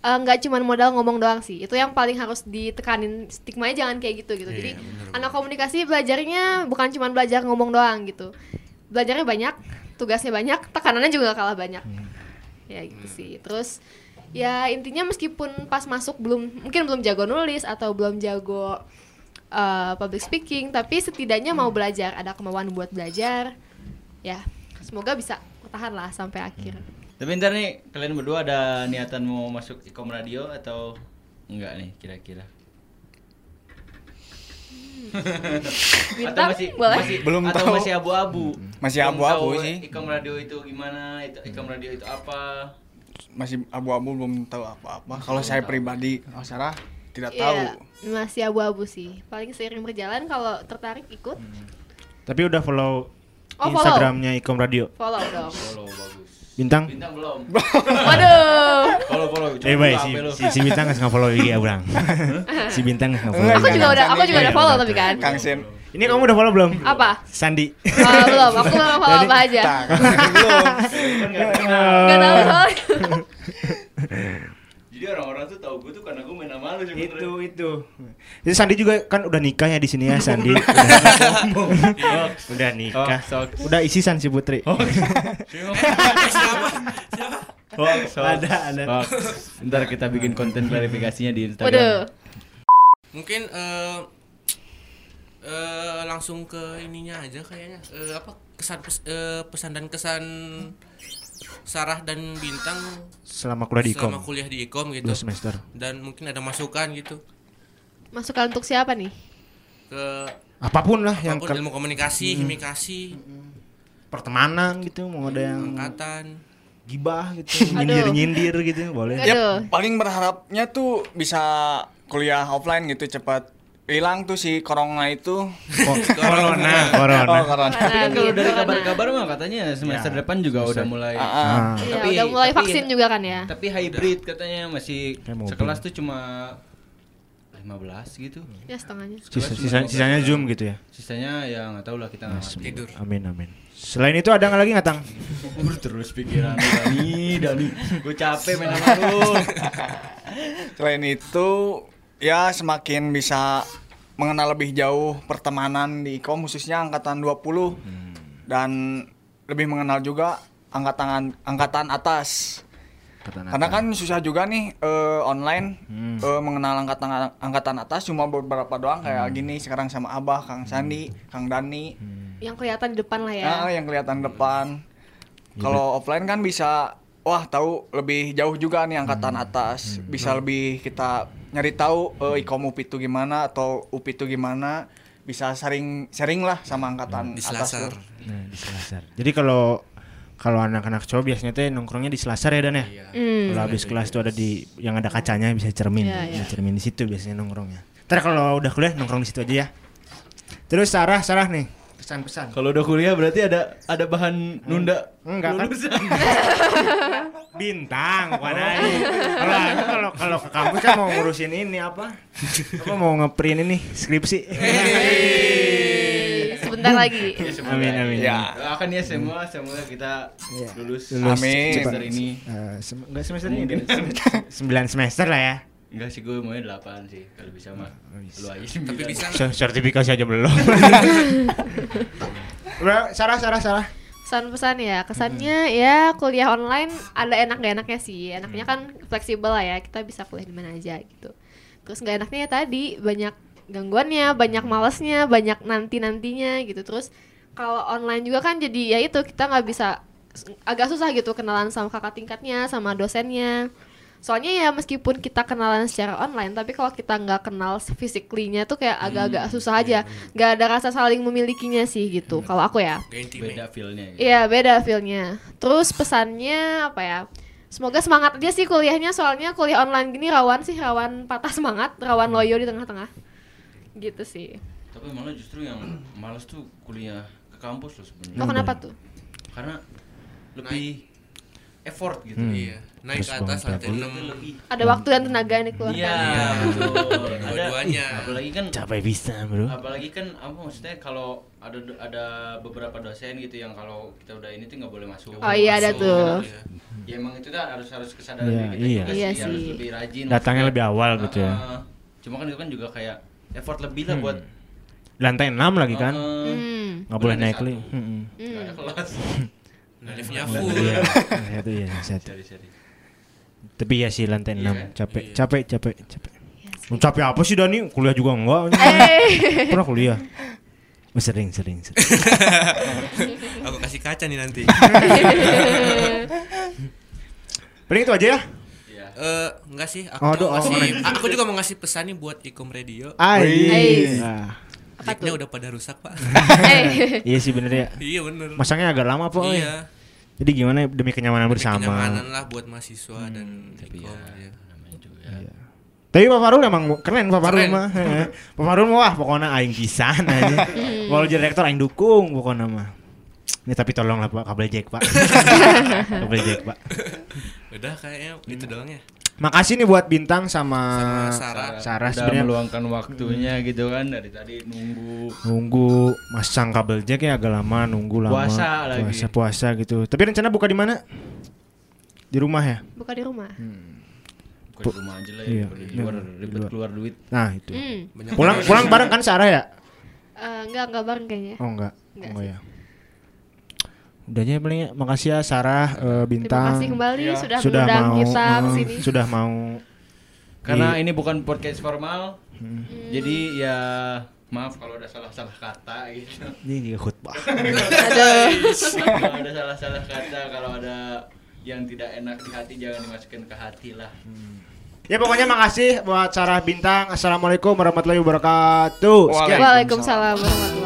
S5: eh, nggak cuman modal ngomong doang sih. Itu yang paling harus ditekanin stigmanya jangan kayak gitu gitu.
S4: Iya,
S5: Jadi
S4: bener banget.
S5: anak komunikasi belajarnya bukan cuman belajar ngomong doang gitu. Belajarnya banyak, tugasnya banyak, tekanannya juga nggak kalah banyak.
S4: Hmm.
S5: Ya gitu
S3: Hmm.
S5: sih. Terus ya intinya meskipun pas masuk belum mungkin belum jago nulis atau belum jago eh, public speaking, tapi setidaknya
S3: Hmm.
S5: mau belajar, ada kemauan buat belajar. Ya, semoga bisa bertahan lah sampai
S3: Hmm.
S5: akhir.
S3: Tapi ntar nih kalian berdua ada niatan mau masuk ikom radio atau enggak nih kira-kira?
S5: Bintang, boleh.
S3: masih
S2: Belum
S3: atau
S2: tahu.
S3: masih abu-abu.
S2: Masih
S3: Belum
S2: abu-abu
S3: tahu
S2: sih.
S3: Ikom radio itu gimana? Itu ikom radio itu apa?
S2: masih abu-abu belum tahu apa-apa. Kalau saya pribadi, kalau Sarah tidak
S5: Iya,
S2: tahu.
S5: masih abu-abu sih. Paling seiring berjalan kalau tertarik ikut,
S3: Hmm.
S1: Tapi udah follow
S5: Oh, follow.
S1: Instagramnya Ikom Radio.
S5: follow
S3: (laughs)
S5: dong.
S3: Follow bagus.
S1: Bintang?
S3: Bintang
S2: (laughs)
S3: belum.
S5: Waduh.
S3: Follow follow.
S1: Eh,
S3: Coba
S1: baik
S3: lu
S1: si,
S3: apa lu? (laughs)
S1: si, si Bintang nggak follow IG
S4: (laughs)
S1: Abrang. si Bintang nggak follow.
S5: Aku
S1: IG.
S5: juga udah aku juga udah follow
S3: Iya,
S5: tapi kan.
S2: Kang Sen.
S1: Ini kamu udah follow belum?
S5: Apa?
S1: Sandi.
S5: Oh, belum, aku belum follow apa aja.
S2: Tak, belum.
S3: Kan
S2: Iya,
S5: Gak tahu soalnya.
S3: (laughs) Jadi orang-orang tuh tahu gue tuh karena gue main sama lu sebenarnya.
S1: itu (laughs)
S3: (laughs)
S1: itu. Jadi Sandi juga kan udah nikah ya di sini ya
S4: (laughs)
S1: Sandi. udah, udah
S4: Oh,
S1: nikah.
S3: Hoax, hoax.
S1: Udah isisan si Putri.
S3: Oh, iya.
S4: siapa siapa
S3: Hoax, hoax.
S1: Oh, Ada, ada.
S3: Hoax. Ntar kita bikin konten klarifikasinya di Instagram.
S5: Waduh.
S4: mungkin eh eh, langsung ke ininya aja kayaknya Eh, apa kesan pes- eh, pesan dan kesan Sarah dan Bintang
S1: Selama kuliah di Ikom.
S4: selama kuliah di Ikom gitu
S1: Dua semester.
S4: dan mungkin ada masukan gitu
S5: Masukan untuk siapa nih?
S4: ke
S1: Apapun lah yang
S4: apapun
S1: ke-
S4: ilmu komunikasi, himikasi,
S1: pertemanan gitu, mau ada yang
S4: angkatan.
S1: gibah gitu, nyindir-nyindir gitu boleh.
S5: Aduh.
S2: Ya, paling berharapnya tuh bisa kuliah offline gitu cepat hilang tuh si corona itu.
S1: Corona, corona.
S2: Oh, corona.
S3: Tapi
S5: Nah,
S3: kan kalau dari
S5: Corona.
S3: kabar-kabar mah katanya
S1: Ya,
S3: semester depan juga udah mulai.
S2: Ah,
S1: Ah.
S5: Iya,
S3: Tapi-
S5: udah mulai
S3: tapi-
S5: vaksin juga kan ya.
S3: Tapi hybrid katanya masih
S1: Kayak mobil.
S3: sekelas tuh cuma 15 gitu.
S5: Ya setengahnya.
S1: Sisa- sisa- sisanya zoom gitu ya.
S3: Sisanya ya nggak tahu lah kita
S1: Nah,
S3: nggak ngerti.
S4: Tidur.
S1: Amin amin. Selain itu ada nggak lagi nggak tang?
S3: Gue terus pikiran lu, Dani, Dani. Gue capek main sama lu.
S2: Selain itu, ya semakin bisa mengenal lebih jauh pertemanan di IKOM khususnya angkatan 20 dan lebih mengenal juga angkatan angkatan atas. Karena kan susah juga nih eh, online eh, mengenal angkatan angkatan atas cuma beberapa doang kayak gini sekarang sama Abah, Kang Sandi, Kang Dani.
S5: Yang kelihatan di depan lah ya.
S2: Ah,
S3: iya.
S2: yang kelihatan depan.
S4: Iya.
S2: Kalau offline kan bisa wah tahu lebih jauh juga nih angkatan
S4: Hmm.
S2: atas. Bisa lebih kita nyari tahu eh, ikom UPI itu gimana atau UPI itu gimana. Bisa sharing sharing lah sama angkatan
S4: Di
S2: atas.
S4: Selasar.
S2: tuh.
S1: Nah, di Selasar. Jadi kalau kalau anak-anak cowok biasanya tuh nongkrongnya di Selasar ya Dan ya.
S5: Hmm.
S1: Kalau habis kelas tuh ada di yang ada kacanya bisa cermin,
S5: Iya, iya.
S1: Bisa cermin di situ biasanya nongkrongnya. Ntar kalau udah kuliah nongkrong di situ aja ya. Terus Sarah, Sarah nih pesan-pesan.
S3: Kalau udah kuliah berarti ada ada bahan nunda.
S1: Enggak kan?
S3: lulus.
S1: Bintang, Wanai. Kalau aku kalau kalau ke kampus kan mau ngurusin ini apa? Apa mau ngeprint ini skripsi?
S5: Eh, Sebentar lagi.
S3: (laughs) Ya, semoga
S1: Iya, Amin amin. Iya.
S2: Ya.
S1: amin.
S3: Doakan ya semua, semoga kita lulus.
S1: Lulus
S2: Amin.
S3: Semester ini.
S1: Eh, sem- enggak semester ini
S3: Mungkin.
S1: Dan? sembilan semester lah ya
S3: Enggak sih gue maunya 8 sih kalau bisa mah.
S1: Iya,
S3: Lu aja 9.
S4: Tapi bisa nggak?
S1: Se- sertifikasi aja belum (laughs) Bro, Sarah Sarah Sarah
S5: Pesan-pesan ya, kesannya ya kuliah online ada enak gak enaknya sih. Enaknya kan fleksibel lah ya, kita bisa kuliah di mana aja gitu. Terus nggak enaknya ya tadi banyak gangguannya, banyak malesnya, banyak nanti-nantinya gitu. Terus kalau online juga kan jadi ya itu kita nggak bisa agak susah gitu kenalan sama kakak tingkatnya, sama dosennya. Soalnya ya meskipun kita kenalan secara online, tapi kalau kita nggak kenal physically-nya tuh kayak agak-agak susah aja. Nggak ada rasa saling memilikinya sih gitu. Kalau aku ya.
S4: Gak intimate.
S3: beda feel-nya gitu.
S5: Iya beda feelnya. Terus pesannya apa ya? Semoga semangat aja sih kuliahnya soalnya kuliah online gini rawan sih rawan patah semangat, rawan loyo di tengah-tengah. Gitu sih.
S3: Tapi malah justru yang males tuh kuliah ke kampus loh sebenarnya.
S5: Kok kenapa tuh?
S3: Karena lebih effort gitu.
S1: Hmm.
S4: Iya. Naik
S1: Terus
S4: ke atas
S1: bangun
S4: lantai
S1: pagi.
S4: enam.
S5: Ada waktu dan tenaga yang
S3: Iya,
S5: dikeluarkan.
S3: betul. Ada-
S4: Dua-duanya.
S3: Apalagi kan
S1: Capek bisa, Bro.
S3: apalagi kan apa maksudnya kalau ada ada beberapa dosen gitu yang kalau kita udah ini tuh nggak boleh masuk.
S5: Oh iya, ada
S4: Masuk,
S5: tuh.
S4: iya.
S3: Ya emang itu kan harus harus kesadaran
S1: Iya,
S3: diri kita
S1: iya.
S3: juga
S5: Iya
S3: sih, harus
S5: sih.
S3: lebih rajin.
S1: Datangnya
S3: maksudnya.
S1: lebih awal gitu ya.
S3: Heeh. Cuma kan itu kan juga kayak effort lebih lah buat
S1: Lantai 6 lagi kan.
S3: Heeh.
S5: Hmm.
S1: Nggak boleh
S3: Berani
S1: naik
S3: satu.
S1: li. Heeh.
S3: Nggak ada
S1: (laughs)
S3: kelas.
S4: Nah, liftnya full.
S1: Satu ya, satu.
S3: Sorry, sorry.
S1: Tapi ya sih lantai 6
S3: kan?
S1: capek,
S4: Iya.
S1: capek, capek, capek. Lu capek apa sih Dani? Kuliah juga enggak.
S5: Eh.
S1: (laughs) Pernah kuliah? Oh, Sering, sering, sering.
S4: Aku kasih kaca
S1: (laughs)
S4: nih nanti. Eh,
S1: Paling itu aja ya.
S3: Iya.
S4: Eh, enggak sih, aku
S1: Oh,
S4: juga
S1: aduh,
S4: mau
S1: oh,
S4: ngasih- aku juga mau ngasih pesan nih buat Ikom Radio.
S1: Ah,
S5: Ais.
S1: Ais. Nah,
S4: Jacknya udah pada rusak,
S1: (laughs)
S4: Pak.
S5: Eh.
S1: Iya sih bener ya.
S4: iya, bener.
S1: Masangnya agak lama Pak.
S4: iya.
S1: Jadi gimana ya, demi kenyamanan
S4: Demi
S1: oh bersama. Hmm, ya.
S4: Kenyamanan lah buat mahasiswa dan Ikom. iya.
S3: Namanya juga.
S1: Tapi Pak Farul emang keren Pak Farul
S4: Keren.
S1: mah. (laughs) Heeh. Pak Farul mah wah pokoknya aing pisan aja.
S3: (laughs)
S1: Walau jadi rektor aing dukung pokoknya mah. Ya tapi tolonglah Pak kabel jack
S3: (laughs)
S1: Pak. kabel jack Pak.
S4: Udah kayaknya itu
S1: Hmm.
S4: doang ya.
S1: Makasih nih buat Bintang sama,
S4: Sama Sarah.
S1: Sarah
S3: udah
S1: sebenarnya Hmm.
S3: meluangkan waktunya gitu kan dari tadi nunggu
S1: nunggu masang kabel jack ya agak lama nunggu lama.
S3: Puasa lagi.
S1: Puasa puasa gitu. Tapi rencana buka di mana? Di rumah ya.
S5: Buka di rumah.
S3: Bukan di rumah aja lah ya,
S1: Iya,
S3: bukan di
S1: iya,
S3: luar
S1: di
S3: ribet
S1: luar.
S3: keluar duit.
S1: Nah itu.
S5: Hmm.
S4: Banyak
S1: Pulang
S4: banget.
S1: pulang bareng kan Sarah ya?
S5: Eh, enggak, enggak bareng kayaknya.
S1: Oh enggak.
S5: Enggak
S1: oh
S5: sih.
S1: ya. Udahnya paling ya. makasih ya Sarah eh,
S5: Terima
S1: bintang.
S5: kasih kembali
S2: Iya.
S5: sudah, mengundang kita
S1: eh,
S5: kesini.
S1: Sudah mau.
S3: Karena
S1: Di-
S3: ini bukan podcast formal. Jadi ya maaf kalau ada salah-salah kata gitu.
S1: Ini juga khutbah.
S3: kalau ada salah-salah kata, kalau ada yang tidak enak di hati jangan dimasukin ke hati lah.
S1: (laughs) ya pokoknya makasih buat Sarah bintang. Assalamualaikum warahmatullahi wabarakatuh. Sekian.
S5: Waalaikumsalam warahmatullahi